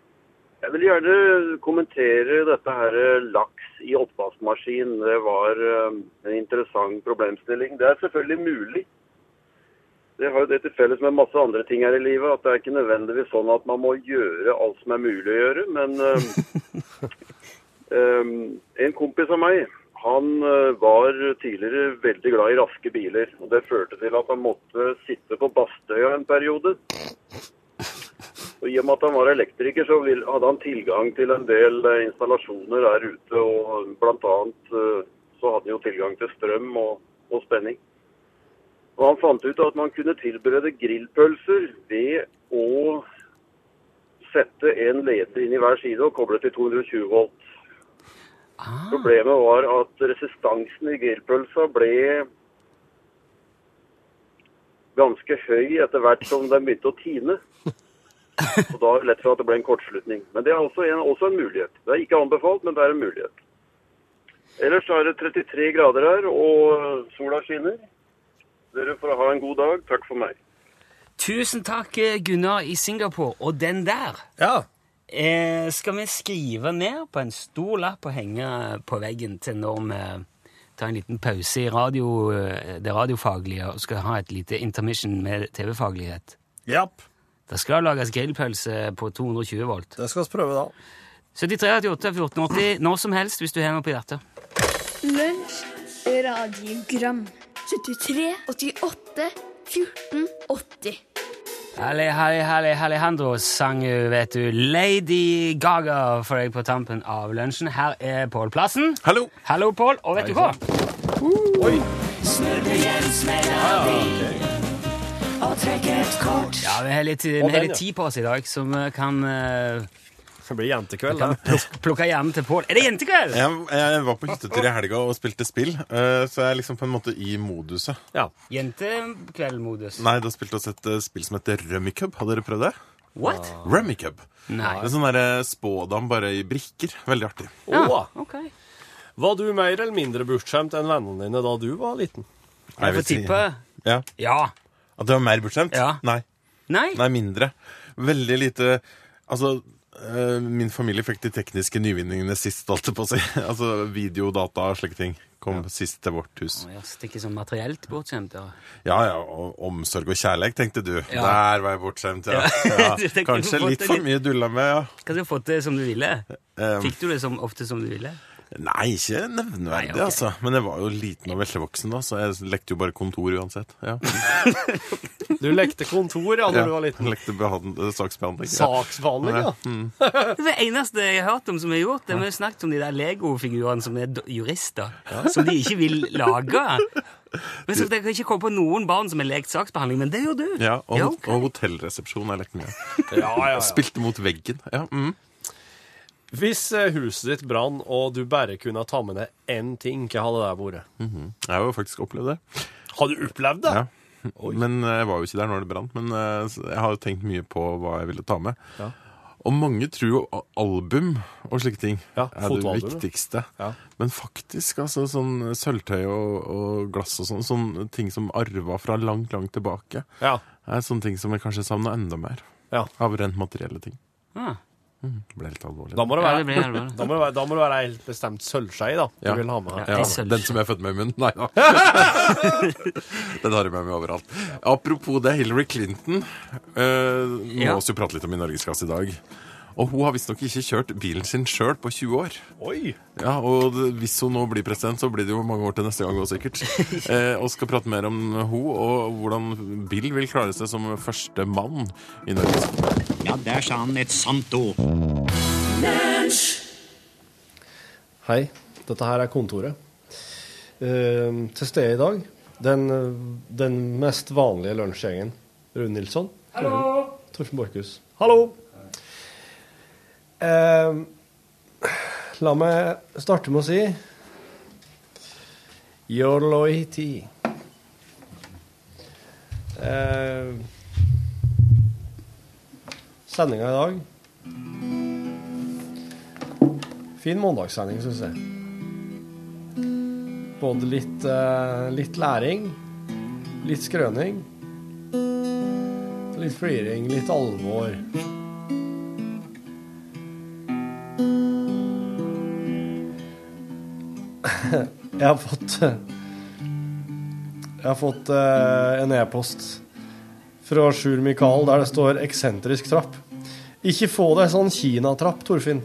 Speaker 9: Jeg vil gjerne kommentere dette her eh, laks i oppvaskmaskin. Det var eh, en interessant problemstilling. Det er selvfølgelig mulig. Det har jo det til felles med masse andre ting her i livet, at det er ikke nødvendigvis sånn at man må gjøre alt som er mulig å gjøre, men eh, eh, en kompis av meg, han eh, var tidligere veldig glad i raske biler, og det førte til at han måtte sitte på Bastøya en periode. Og I og med at han var elektriker, så vil, hadde han tilgang til en del eh, installasjoner der ute. Og blant annet eh, så hadde han jo tilgang til strøm og, og spenning. Og han fant ut at man kunne tilberede grillpølser ved å sette en leder inn i hver side og koble til 220 volt. Problemet var at resistansen i grillpølsa ble ganske høy etter hvert som den begynte å tine. Og da er det lett for at det ble en kortslutning. Men det er også en, også en mulighet. Det er ikke anbefalt, men det er en mulighet. Ellers så er det 33 grader her, og sola skinner. Dere får ha en god dag. Takk for meg.
Speaker 3: Tusen takk, eh, Gunnar i Singapore. Og den der
Speaker 4: ja.
Speaker 3: eh, skal vi skrive ned på en stor lapp og henge på veggen til når vi tar en liten pause i radio, eh, det radiofaglige og skal ha et lite intermission med TV-faglighet.
Speaker 4: Japp.
Speaker 3: Det skal lages grillpølse på 220 volt.
Speaker 4: Det skal vi prøve, da.
Speaker 3: 73 88 14 80 når som helst hvis du har noe på hjertet.
Speaker 5: Lunsj radiogram 73 88 14 80
Speaker 3: Halli, halli, halli, Alejandro sang jo, vet du, Lady Gaga for deg på tampen av lunsjen. Her er Pål Plassen.
Speaker 4: Hallo.
Speaker 3: Hallo, Pål. Og vet du hva?
Speaker 4: Oi.
Speaker 3: Ja, Vi har litt, vi
Speaker 4: Og
Speaker 3: har
Speaker 4: den, ja.
Speaker 3: litt tid på oss i dag, så vi kan eh,
Speaker 4: Det blir jentekveld,
Speaker 3: kan
Speaker 4: da.
Speaker 3: pluk- plukke hjernen til Pål. Er det jentekveld?
Speaker 10: Jeg, jeg var på hyttetur i helga og spilte spill, eh, så jeg er liksom på en måte i moduset.
Speaker 4: Ja.
Speaker 3: Jentekveldmodus.
Speaker 10: Nei, da spilte vi også et eh, spill som heter Rummy Cub. Har dere prøvd det?
Speaker 3: What?
Speaker 10: Rummy Cub.
Speaker 3: Nei.
Speaker 10: En sånn derre spådam bare i brikker. Veldig artig.
Speaker 4: Åh.
Speaker 3: Ok.
Speaker 4: Var du mer eller mindre bortskjemt enn vennene dine da du var liten?
Speaker 10: Jeg
Speaker 3: Få tippe.
Speaker 10: Ja.
Speaker 3: Ja.
Speaker 10: At det var mer bortskjemt?
Speaker 3: Ja.
Speaker 10: Nei.
Speaker 3: Nei?
Speaker 10: Nei, mindre. Veldig lite Altså, eh, min familie fikk de tekniske nyvinningene sist, holdt jeg på å si. Altså video, data og slike ting.
Speaker 9: Kom sist til vårt hus.
Speaker 3: Jeg stikker sånn materielt bortskjemt. Ja.
Speaker 9: Ja, ja, og omsorg og kjærlighet, tenkte du.
Speaker 3: Ja.
Speaker 9: Der var jeg bortskjemt, ja.
Speaker 3: Ja.
Speaker 9: ja.
Speaker 3: Du tenkte du
Speaker 9: Kanskje
Speaker 3: fått
Speaker 9: litt
Speaker 3: det
Speaker 9: for
Speaker 3: litt-
Speaker 9: mye dulla med, ja.
Speaker 3: Hva skal du fått det som du ville?
Speaker 9: Um,
Speaker 3: Fikk du det som, ofte som du ville?
Speaker 9: Nei, ikke
Speaker 3: Nei,
Speaker 9: nevneverdig,
Speaker 3: ok.
Speaker 9: altså. Men jeg var jo liten og veldig voksen da, så jeg lekte jo bare kontor uansett. Ja.
Speaker 2: Du lekte kontor ja, når du var liten.
Speaker 9: Jeg lekte behand- eh, saksbehandling.
Speaker 2: Saksbehandling, ja.
Speaker 9: Mm.
Speaker 3: Det er det eneste jeg har hørt om som er gjort. Det er Vi har snakket om de der Lego-figurene som er do- jurister, som de ikke vil lage. Men så Jeg kan ikke komme på noen barn som har lekt saksbehandling, men det gjør du.
Speaker 9: Ja, og,
Speaker 3: Ja, ok.
Speaker 9: og hotellresepsjon har jeg lekt mye. av.
Speaker 2: Ja, ja, ja.
Speaker 9: Spilte mot veggen. Ja, mm.
Speaker 2: Hvis eh, huset ditt brann, og du bare kunne ta med deg én ting, hva hadde det vært?
Speaker 9: Mhm. Jeg har jo faktisk opplevd det.
Speaker 2: Har du opplevd det?
Speaker 9: Ja. Men eh, jeg var jo ikke der når det brant. Men eh, så jeg har jo tenkt mye på hva jeg ville ta med.
Speaker 2: Ja.
Speaker 9: Og mange tror jo a- album og slike ting
Speaker 2: Ja,
Speaker 9: er det
Speaker 2: fotoalbum, ja.
Speaker 9: viktigste.
Speaker 2: Ja.
Speaker 9: Men faktisk, altså sånn sølvtøy og, og glass og sånn, sånne ting som arva fra langt, langt tilbake,
Speaker 2: Ja.
Speaker 9: er sånne ting som jeg kanskje savner enda mer.
Speaker 2: Ja. Hm.
Speaker 9: Av rent materielle ting. Hm,
Speaker 3: Ah,
Speaker 9: Det ble litt alvorlig.
Speaker 2: Da må det
Speaker 3: ja,
Speaker 2: være
Speaker 3: det blir alvor.
Speaker 2: Da må det være, da må det være ei helt bestemt sølvskei da, du
Speaker 9: Ja.
Speaker 2: vil ha med deg.
Speaker 3: Ja.
Speaker 9: Ja,
Speaker 3: sølvskje.
Speaker 9: den som jeg er født med i munnen? Nei da. den har jeg med meg overalt. Apropos det, Hillary Clinton eh, må
Speaker 3: Ja.
Speaker 9: oss jo prate litt om i Norgesklasse i dag. Og hun har visstnok ikke kjørt bilen sin sjøl på 20 år.
Speaker 2: Oi!
Speaker 9: Ja, Og det- hvis hun nå blir president, så blir det jo mange år til neste gang òg, sikkert. Eh, og skal prate mer om hun og hvordan Bill vil klare seg som første mann i Norge.
Speaker 11: Ja, der sa han et sant ord.
Speaker 2: Hei, dette her er kontoret. Eh, til stede i dag, den, eh, den mest vanlige lunsjgjengen. Rune Nilsson. Hallo! Torfinn Borchhus. Hallo! Eh, la meg starte med å si Your loyalty. Uh, Sendinga i dag Fin måndagssending, syns jeg. Både litt, eh, litt læring, litt skrøning, litt fliring, litt alvor. Jeg har fått Jeg har fått eh, en e-post fra Sjur Mikael der det står 'eksentrisk trapp'. Ikke få deg sånn kinatrapp, Torfinn.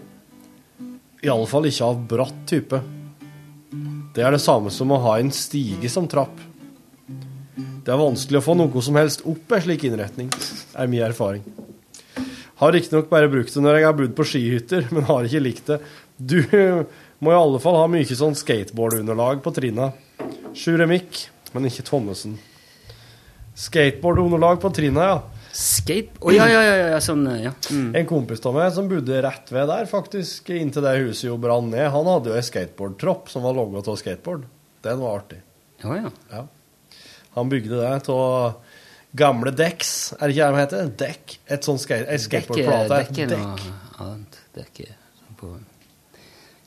Speaker 2: Iallfall ikke av bratt type. Det er det samme som å ha en stige som trapp. Det er vanskelig å få noe som helst opp ei slik innretning, er min erfaring. Har riktignok bare brukt det når jeg har bodd på skihytter, men har ikke likt det. Du må i alle fall ha mye sånn skateboardunderlag på trinna. Sjuremikk, men ikke Thommessen. Skateboardunderlag på trinna, ja.
Speaker 3: Escape Å ja, ja, ja, ja, ja, sånn, ja. Mm.
Speaker 2: En kompis av meg som bodde rett ved der, faktisk, inntil det huset jo brann ned, han hadde jo ei skateboardtropp som var logga av skateboard. Den var artig.
Speaker 3: Ja, ja.
Speaker 2: Ja. Han bygde det av gamle dekks, er det ikke det de heter? Dekk? Et sånt skate, ei skateboardplate.
Speaker 3: Dekke, dekke
Speaker 2: Dekk.
Speaker 3: noe annet. Dekke sånn på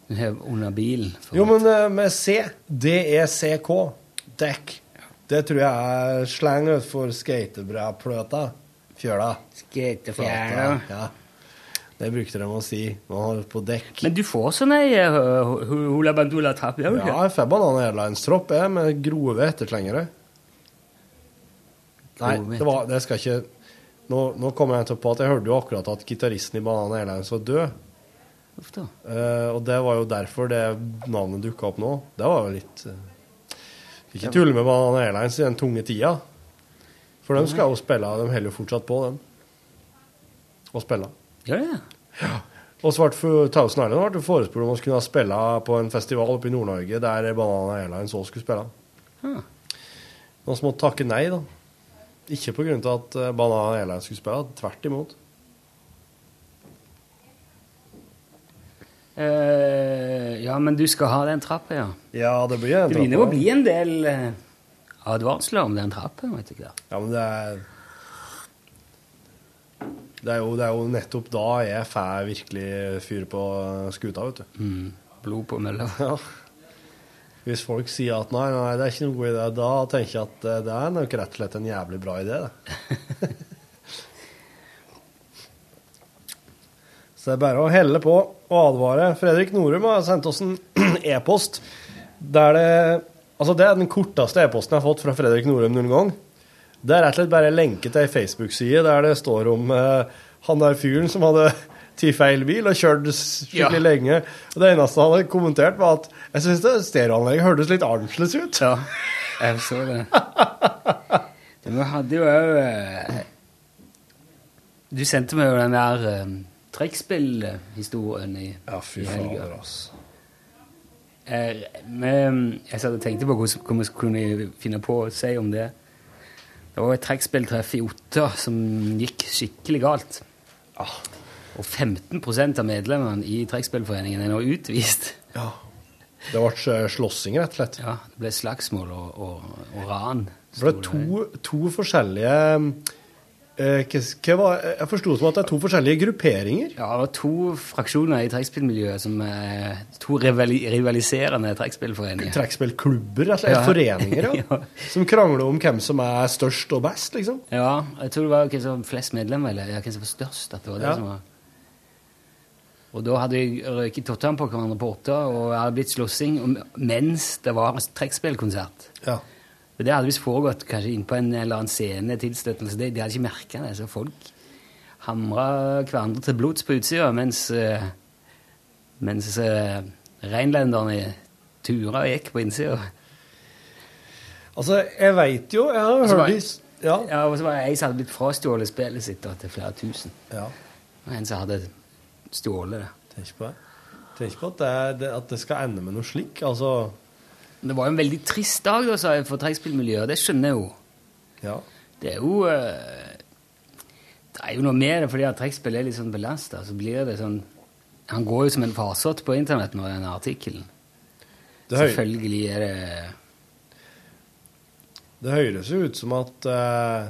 Speaker 3: den her under bilen. for-
Speaker 2: Jo, men eh, med C. D-E-C-K. Dekk. Det tror jeg er slang for skatebræpløta. Fjøla.
Speaker 3: Skatefjæra.
Speaker 2: Ja. Det brukte de å si når han var på dekk.
Speaker 3: Men du får sånn ei eh, hu- hu- hula bandula trapp, gjør du
Speaker 2: Ja,
Speaker 3: ikke?
Speaker 2: jeg får Banan Airlines-tropp jeg, med grove etterslengere. Nei,
Speaker 3: Grove
Speaker 2: det, var, det skal ikke Nå, nå kom jeg til på at jeg hørte jo akkurat at gitaristen i Banan Airlines var død.
Speaker 3: Uff da.
Speaker 2: eh, og det var jo derfor det navnet dukka opp nå. Det var jo litt eh, Ikke tulle med Banan Airlines i den tunge tida. For de skal jo spille, de holder jo fortsatt på, dem. Og spille.
Speaker 3: Gjør det?
Speaker 2: Og så ble Thousand Island ble det forespurt om å kunne spille på en festival oppe i Nord-Norge der Banana Airlines også skulle spille.
Speaker 3: Hmm.
Speaker 2: Noen som måtte takke nei, da. Ikke på grunn av at eh, Banana Airlines skulle spille, tvert imot.
Speaker 3: Eh, ja, men du skal ha den trappa, ja.
Speaker 2: Ja, det blir en
Speaker 3: Det begynner å bli en del eh, advarsler om den trappa. vet du hva.
Speaker 2: Ja, men det er det er, jo, det er jo nettopp da jeg får virkelig fyr på skuta, vet du.
Speaker 3: Mm. Blod på mølla.
Speaker 2: Ja. Hvis folk sier at nei, nei, det er ikke noen god idé, da tenker jeg at eh, det er nok rett og slett en jævlig bra idé, det. Så det er bare å helle på og advare. Fredrik Norum har sendt oss en e-post
Speaker 4: Der det, altså det er den korteste e-posten jeg har fått fra Fredrik Norheim noen gang. Det er rett og slett bare en lenke til ei Facebook-side der det står om eh, han der fyren som hadde ti feil bil og kjørt skikkelig
Speaker 12: Ja.
Speaker 4: lenge. Og det eneste han hadde kommentert, var at jeg syns det stereoanlegget hørtes litt annerledes ut.
Speaker 3: Ja, jeg så det. Men Vi hadde jo òg eh, Du sendte meg jo den der eh, trekkspillhistorien i, ja,
Speaker 4: fy
Speaker 3: i helga.
Speaker 4: fader,
Speaker 3: Eh, men jeg satt og tenkte på hvordan- hva vi kunne finne på å si om det. Det var et trekkspilltreff i Otta som gikk skikkelig galt.
Speaker 4: Ah.
Speaker 3: Og 15 av medlemmene i trekkspillforeningen er nå utvist.
Speaker 4: Ja. Det ble slåssing, rett og slett.
Speaker 3: Ja, det ble slagsmål og, og, og ran.
Speaker 4: Det ble to, to forskjellige eh, hva, hva var, Jeg forsto det som at det er to forskjellige grupperinger.
Speaker 3: Ja, det var to fraksjoner i trekkspillmiljøet som eh, To rivali rivaliserende trekkspillforeninger.
Speaker 4: Trekkspillklubber, rett og slett. Foreninger, ja.
Speaker 3: ja.
Speaker 4: Som krangler om hvem som er størst og best, liksom.
Speaker 3: Ja, jeg tror det var hvem som var flest medlemmer, eller ja, hvem som var størst. at det var det
Speaker 4: Ja.
Speaker 3: som var... Og da hadde jeg røyket tottene på hverandre på åtta, og det hadde blitt slåssing om- mens det var trekkspillkonsert.
Speaker 4: Ja.
Speaker 3: Og Det hadde visst foregått kanskje inn på en eller annen scene, tilstøtelse, de, de hadde ikke merka det. Så folk hamra hverandre til blods på utsida, mens, eh, mens eh, reinlenderne tura og gikk på innsida.
Speaker 4: Altså, jeg veit jo Jeg har hørt de s- ja.
Speaker 3: og så var det ei som hadde blitt frastjålet spillet sitt da, til flere tusen.
Speaker 4: Ja.
Speaker 3: Og en som hadde stjålet det.
Speaker 4: Tenk på det. Tenk på at det, er- det, at det skal ende med noe slik. Altså
Speaker 3: Det var jo en veldig trist dag da, sa jeg, for trekkspillmiljøet, og det skjønner jeg jo.
Speaker 4: Ja.
Speaker 3: Det er jo eh, Det er jo noe med det, fordi at trekkspill er litt sånn belasta. Så blir det sånn Han går jo som en farsott på internett når den artikkelen.
Speaker 4: Det høy-
Speaker 3: Selvfølgelig er det
Speaker 4: Det høres jo ut som at eh,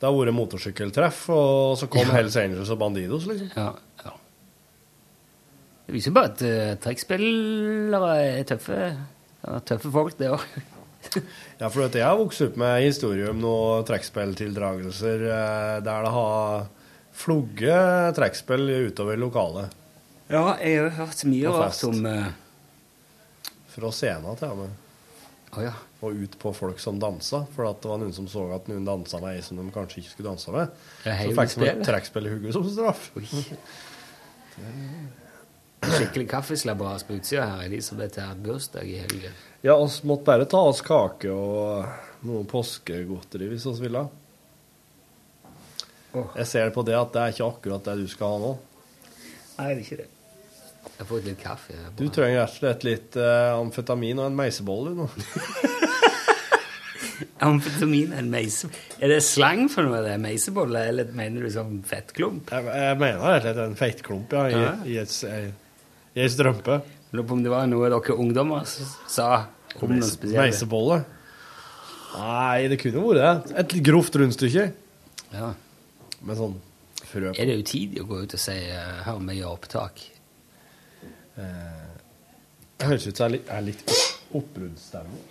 Speaker 4: det har vært motorsykkeltreff, og så kom
Speaker 3: Ja.
Speaker 4: Hells Angels og Bandidos, liksom.
Speaker 3: Ja. ja. Det viser jo bare at uh, trekkspillere er tøffe. Ja, tøffe folk, det òg.
Speaker 4: Ja, for du vet, jeg har vokst opp med historie om noen trekkspilltildragelser eh, der det har flogget trekkspill utover lokalet.
Speaker 3: Ja, jeg har hørt så mye
Speaker 4: Og
Speaker 3: rart
Speaker 4: fest.
Speaker 3: om eh,
Speaker 4: Fra scenen til og med. Og ut på folk som dansa, for at det var noen som så at noen dansa med ei som de kanskje ikke skulle danse med.
Speaker 3: Ja, hei,
Speaker 4: så fikk de et
Speaker 3: spillet.
Speaker 4: trekkspill i hodet som straff.
Speaker 3: skikkelig kaffeslabberas på utsida her. Elisabeth har bursdag i helga.
Speaker 4: Ja, oss måtte bare ta oss kake og noe påskegodteri hvis oss ville. Jeg ser på det at det er ikke akkurat det du skal ha nå.
Speaker 3: Nei, det er ikke det. Jeg har fått litt kaffe. det er
Speaker 4: Du
Speaker 3: bra.
Speaker 4: trenger rett og slett litt eh, amfetamin og en meisebolle du, nå.
Speaker 3: Amfetamin er en meise... Er det slang for noe, det? Meisebolle? Eller mener du sånn fettklump?
Speaker 4: Jeg, jeg mener rett og slett en feitklump ja, i,
Speaker 3: Ja.
Speaker 4: i, et, s- ei- i ei strømpe.
Speaker 3: Lurer på om det var noe dere ungdommer s- sa om noe
Speaker 4: Meise,
Speaker 3: spesielt.
Speaker 4: meisebolle. Nei, det kunne vært det. Et litt grovt rundstykke.
Speaker 3: Ja.
Speaker 4: Med sånn frø på.
Speaker 3: Er det utidig å gå ut og si eh, 'hør, vi gjør opptak'?
Speaker 4: Eh, det høres ut som det er litt, er litt oppbruddsstemning.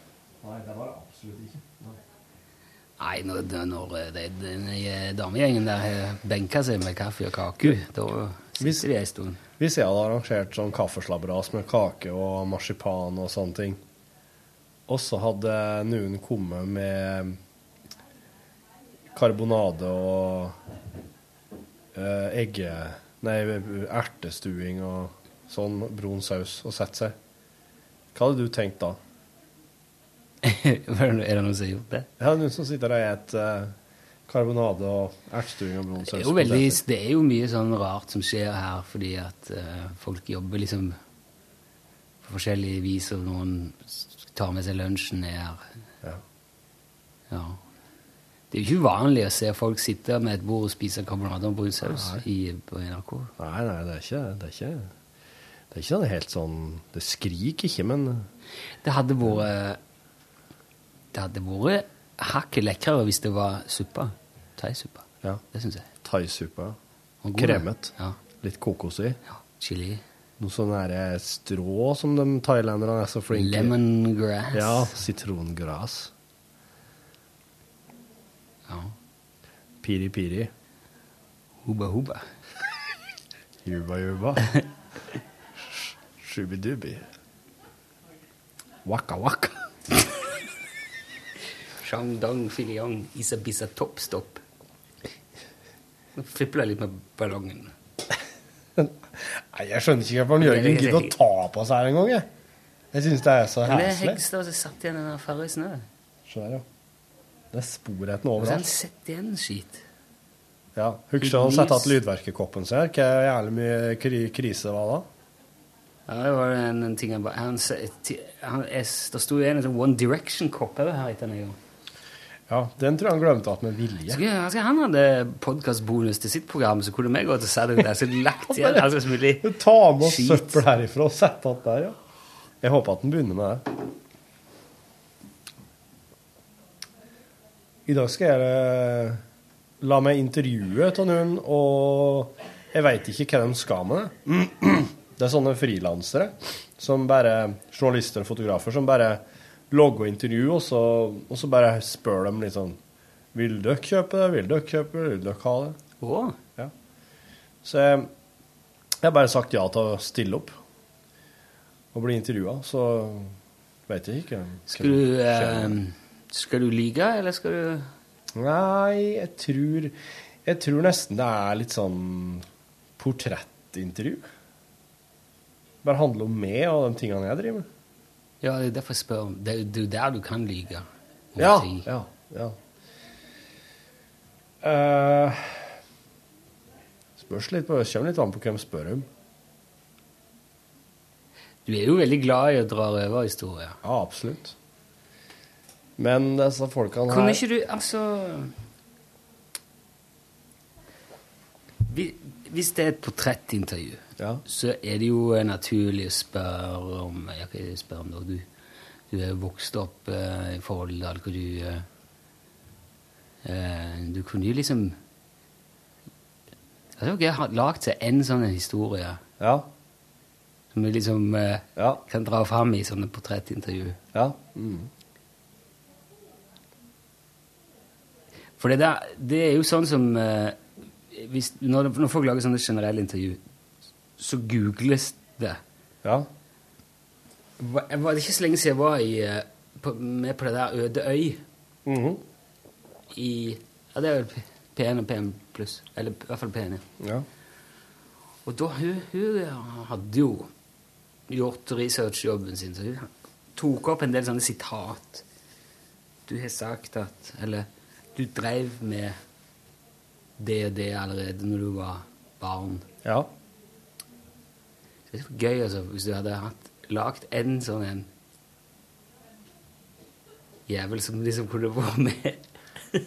Speaker 4: Nei, det var det absolutt ikke.
Speaker 3: Nei, når, når eh, det- den eh, damegjengen der har benka seg med kaffe og kake, da sitter de ei stund.
Speaker 4: Hvis jeg hadde arrangert sånn kaffeslabberas med kake og marsipan og sånne ting, og så hadde noen kommet med karbonade og eh, egge... Nei, ertestuing og sånn brun saus og sett seg. Hva hadde du tenkt da?
Speaker 3: er det noen som har gjort det?
Speaker 4: Jeg hadde noen som sitter der i et eh, karbonade og ertestuing og brun saus.
Speaker 3: Det er, jo
Speaker 4: og
Speaker 3: veldig,
Speaker 4: poteter.
Speaker 3: det er jo mye sånn rart som skjer her, fordi at eh, folk jobber liksom på forskjellige vis, og noen s- tar med seg lunsjen ned her.
Speaker 4: Ja.
Speaker 3: Ja. Det er jo ikke uvanlig å se folk sitte med et bord og spise karbonade og brun saus i, på NRK.
Speaker 4: Nei, nei, det er ikke Det er ikke, det er ikke sånn helt sånn Det skriker ikke, men
Speaker 3: Det hadde vært eh, Det hadde vært hakket lekrere hvis det var suppa. Thaisuppa.
Speaker 4: Ja.
Speaker 3: Det syns jeg.
Speaker 4: Thaisuppe.
Speaker 3: Og god, da.
Speaker 4: Kremet.
Speaker 3: Ja.
Speaker 4: Litt kokos i.
Speaker 3: Chili.
Speaker 4: Noe sånn derre strå som de thailenderne er så flinke i.
Speaker 3: Lemongrass.
Speaker 4: Ja. Sitrongras.
Speaker 3: Ja.
Speaker 4: Piri-piri.
Speaker 3: Hubba hubba.
Speaker 4: Juba-juba. Shubidubi.
Speaker 3: Waka waka. Shandong filiong isabissa toppstopp. Nå Fipler jeg litt med ballongen.
Speaker 2: Nei, jeg skjønner ikke hvorfor Jørgen gidder å ta på seg her engang. Jeg, jeg syns det er så
Speaker 3: Men det er
Speaker 2: heslig.
Speaker 3: heksa som satt igjen i den fargen i snø.
Speaker 2: Se der, ja. Det er sporheten
Speaker 3: Og så har han
Speaker 2: overalt.
Speaker 3: sett igjen skit.
Speaker 2: Ja, Husker du han satte igjen lydverkekoppen sin her? Hva jævlig mye kri krise det var da?
Speaker 3: Ja, det var en, en ting han bare han, sa- ti- han, jeg, Det sto jo en sånn One Direction-kopp over her etter en gang.
Speaker 2: Ja, Den tror jeg han glemte at med vilje.
Speaker 3: Så kunne- altså, Han hadde podkastbonus til sitt program, så kunne vi gått og satt det der. Så lagt igjen alt som mulig.
Speaker 2: Ta med oss søppel herifra og sette igjen der, ja. Jeg håper at den begynner med det. I dag skal jeg eh, la meg intervjue av noen, og jeg veit ikke hva de skal med det. Det er sånne frilansere, som bare, journalister og fotografer, som bare logger intervju, og så, og så bare spør dem litt sånn Vil dere kjøpe det? Vil dere kjøpe det? Vil dere ha det? Ja. Så jeg, jeg har bare sagt ja til å stille opp og bli intervjua, så veit jeg ikke. hvem-
Speaker 3: Skal du,
Speaker 2: hvem som skjer.
Speaker 3: eh, skal du lyge, eller skal du
Speaker 2: Nei, jeg tror Jeg tror nesten det er litt sånn portrettintervju. Bare handler om meg og de tingene jeg driver med.
Speaker 3: Ja, det er derfor jeg spør. Det er jo- det er jo der du kan lyge. om
Speaker 2: Ja,
Speaker 3: ting.
Speaker 2: ja, ja. Eh, spørs litt på, kommer litt an på hvem spør om.
Speaker 3: Du er jo veldig glad i å dra røverhistorier.
Speaker 2: Ja, absolutt. Men disse folkene
Speaker 3: Kunne
Speaker 2: her
Speaker 3: ikke du Altså Hvi- Hvis det er et portrettintervju, så er det jo eh, naturlig å spørre om Jeg kan ikke spørre om det, du, du er jo vokst opp eh, i forhold til alt hva du eh, eh, Du kunne jo liksom Jeg tror ikke jeg har lagd seg en sånn historie som vi liksom eh, kan dra fram i sånne portrettintervju.
Speaker 2: Ja.
Speaker 3: For det, der, det er jo sånn som eh, hvis, når, når folk lager sånne generelle intervju, så googles det.
Speaker 2: Ja.
Speaker 3: Jeg var, det er ikke så lenge siden jeg var i, eh, på, med på det der Øde øy. Mhm. I Ja, det er vel P- P1 og P1 pluss. Eller i hvert fall P1.
Speaker 2: Ja.
Speaker 3: Og da hun, hun hadde jo gjort researchjobben sin, så hun tok opp en del sånne sitat. Du har sagt at Eller du dreiv med det og det allerede når du var barn.
Speaker 2: Ja.
Speaker 3: Det er så gøy altså, hvis du hadde hatt, lagt en sånn en jævel som liksom kunne vært med. Så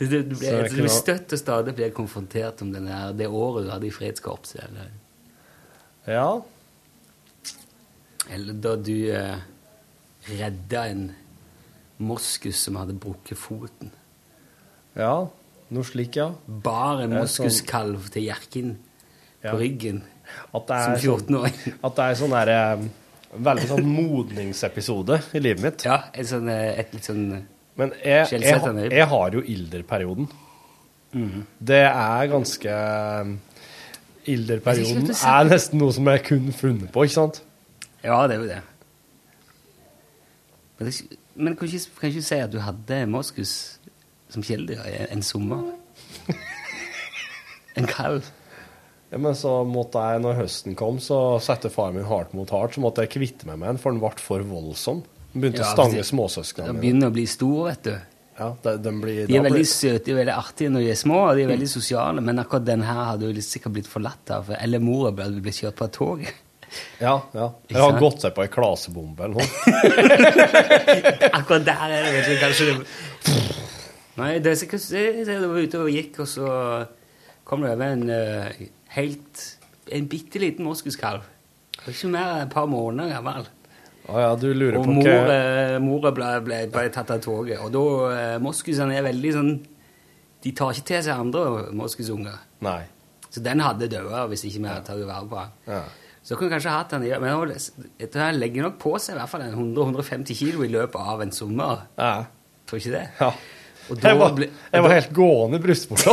Speaker 3: Du, du,
Speaker 2: Så
Speaker 3: ble,
Speaker 2: jeg
Speaker 3: så
Speaker 2: kunne-
Speaker 3: du støtt og stadig ble konfrontert om den der, det året du hadde i fredskorpset. Eller,
Speaker 2: Ja.
Speaker 3: eller da du eh, redda en moskus som hadde brukket foten.
Speaker 2: Ja. Noe slik, ja.
Speaker 3: Bar en
Speaker 2: Det er sånn-
Speaker 3: moskuskalv til jerken
Speaker 2: Ja.
Speaker 3: på ryggen.
Speaker 2: At det
Speaker 3: Som
Speaker 2: er Sånn, at det er sånn der, eh, veldig sånn modningsepisode i livet mitt.
Speaker 3: Ja, et, sånn, eh, et litt sånn eh,
Speaker 2: Men jeg, jeg,
Speaker 3: skjellsettende øyeblikk.
Speaker 2: jeg har jo ilderperioden. Det er ganske
Speaker 3: Jeg synes
Speaker 2: Ilderperioden
Speaker 3: det
Speaker 2: er
Speaker 3: er-
Speaker 2: nesten noe som jeg kun funnet på, ikke sant?
Speaker 3: Ja, det er jo det. Men, det, er ikke- men kan, ikke, kan ikke du si at du hadde moskus som kjæledyr i en sommer? En kalv?
Speaker 2: Ja, men så måtte jeg, når høsten kom, så satte faren min hardt mot hardt, så måtte jeg kvitte meg med den, for den ble for voldsom. Den begynte å
Speaker 3: Ja,
Speaker 2: stange
Speaker 3: fordi- De
Speaker 2: småsøsknene mine.
Speaker 3: begynner å bli store, vet du.
Speaker 2: Ja, de, de, blir,
Speaker 3: De er
Speaker 2: da blir-
Speaker 3: veldig søte de er veldig artige når de er små, og de er veldig sosiale, men akkurat den her hadde jo litt- sikkert blitt forlatt av, eller mora ble, ble kjørt på et tog.
Speaker 2: Ja, ja.
Speaker 3: Ikke
Speaker 2: Jeg har
Speaker 3: sant?
Speaker 2: gått seg på ei klasebombe eller noe.
Speaker 3: Akkurat der er det, vet du, kanskje det... Nei, det er sikkert, jeg, jeg var ute og gikk, og så kom det over en eh, helt, en bitteliten moskuskalv. Det var Ikke mer enn et par måneder gammel.
Speaker 2: Å ja, du lurer
Speaker 3: Og
Speaker 2: på
Speaker 3: mor,
Speaker 2: hva
Speaker 3: eh, mora ble, ble, ble tatt av toget. Og da eh, Moskusene er veldig sånn De tar ikke til seg andre moskusunger.
Speaker 2: Nei.
Speaker 3: Så den hadde dødd hvis ikke vi hadde tatt vare på den.
Speaker 2: Ja.
Speaker 3: Så kunne vi kanskje hatt den i Men hun- jeg tror han legger nok på seg i hvert fall en 100-150 kilo i løpet av en sommer.
Speaker 2: Ja.
Speaker 3: Tror ikke det?
Speaker 2: Ja.
Speaker 3: Og da
Speaker 2: Jeg var,
Speaker 3: ble-
Speaker 2: jeg var helt gående i brystvorta.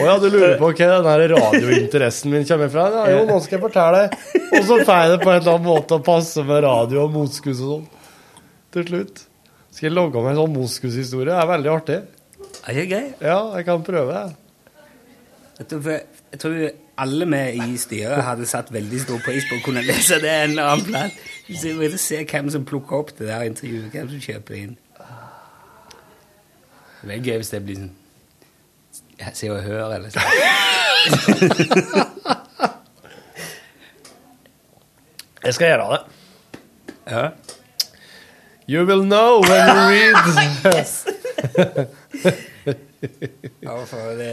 Speaker 2: Å ja, du lurer på hva den her radiointeressen min kommer fra? Ja, jo, nå skal jeg fortelle deg. Og så får jeg det på en eller annen måte å passe med radio og motskurs og sånn. Til slutt. Skal jeg logge med en sånn motkurshistorie? Det er veldig artig.
Speaker 3: Er det gøy?
Speaker 2: Ja, jeg kan prøve. jeg.
Speaker 3: Jeg tror, jeg tror alle vi i styret hadde satt veldig stor pris på å kunne lese det en eller annen plass. Så jeg ville se hvem som plukker opp det der intervjuet, hvem som kjøper inn. Det er gøy hvis det blir sånn ja, Se og Hør eller sånn.
Speaker 2: Jeg skal gjøre det. You will know when you read.
Speaker 3: Ja, for det,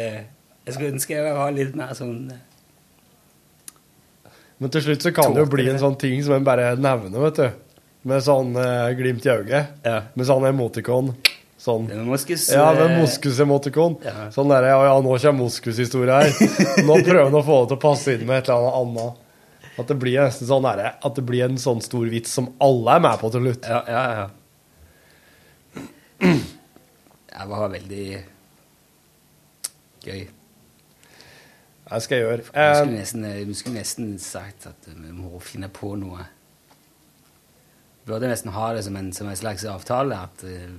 Speaker 3: jeg skulle ønske jeg var litt mer sånn
Speaker 2: Men til slutt så kan det jo bli en sånn ting som en bare nevner, vet du. Med sånn eh, glimt i øyet. Med sånn emotikon. Sånn.
Speaker 3: moskus,
Speaker 2: ja, med
Speaker 3: eh,
Speaker 2: moskusemotikon. Sånn derre Ja, ja, nå kommer moskushistoria her. Nå prøver han å få det til å passe inn med et eller annet annet. At det blir nesten sånn derre At det blir en sånn stor vits som alle er med på til slutt.
Speaker 3: Ja, ja, ja. Det var veldig gøy.
Speaker 2: Det skal jeg gjøre. Eh,
Speaker 3: Vi skulle nesten, eh, vi skulle nesten sagt at eh, vi må finne på noe. Vi burde nesten ha det som en, som en slags avtale at eh,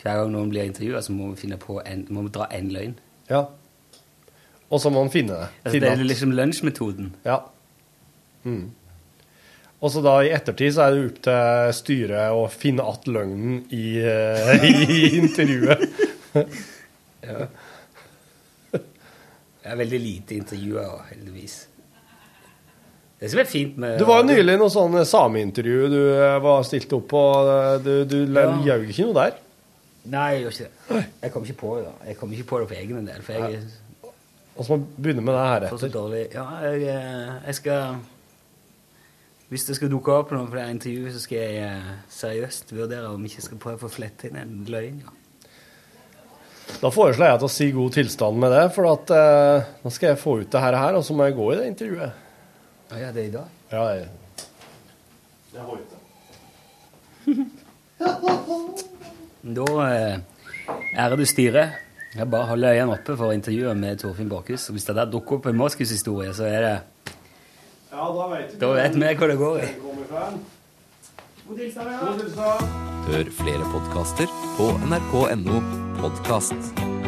Speaker 3: hver gang noen blir intervjua, så må vi finne på en, må vi dra én løgn.
Speaker 2: Ja. Og så må man finne det.
Speaker 3: Altså,
Speaker 2: Finne
Speaker 3: det
Speaker 2: at-
Speaker 3: er liksom lunsjmetoden.
Speaker 2: Ja. Mm. Og så da i ettertid så er det opp til styret å finne att løgnen i, eh, i intervjuet.
Speaker 3: Ja. Det er veldig lite intervjuer, heldigvis. Det som er fint med
Speaker 2: Du var jo nylig i noe sånn sameintervju du eh, var stilt opp på. eh, Du, du ja.
Speaker 3: Ja.
Speaker 2: gjør ikke noe der.
Speaker 3: Nei, jeg gjorde ikke det. Jeg kom ikke på det. da. Jeg kom ikke på det på egen del. For jeg
Speaker 2: Og så må vi begynne med det her
Speaker 3: får så
Speaker 2: etter.
Speaker 3: dårlig Ja, jeg, eh, jeg skal Hvis det skal dukke opp noe fra det intervjuet, så skal jeg eh, seriøst vurdere om jeg ikke skal prøve å flette inn en løgn. Ja.
Speaker 2: Da foreslår jeg at å si god tilstand med det, for at eh, nå skal jeg få ut det her, og her, og så må jeg gå i det intervjuet.
Speaker 3: Å ja, det er i dag?
Speaker 2: Ja, jeg,
Speaker 3: Da, eh, ærede styre, jeg bare holder øynene oppe for intervjuet med Torfinn Borchhus. og Hvis det der dukker opp en Moskus-historie, så er det
Speaker 2: Ja, da vet
Speaker 3: Da vet vi hvor det går i.
Speaker 2: God tilstand.
Speaker 13: Hør flere podkaster på nrk.no podkast.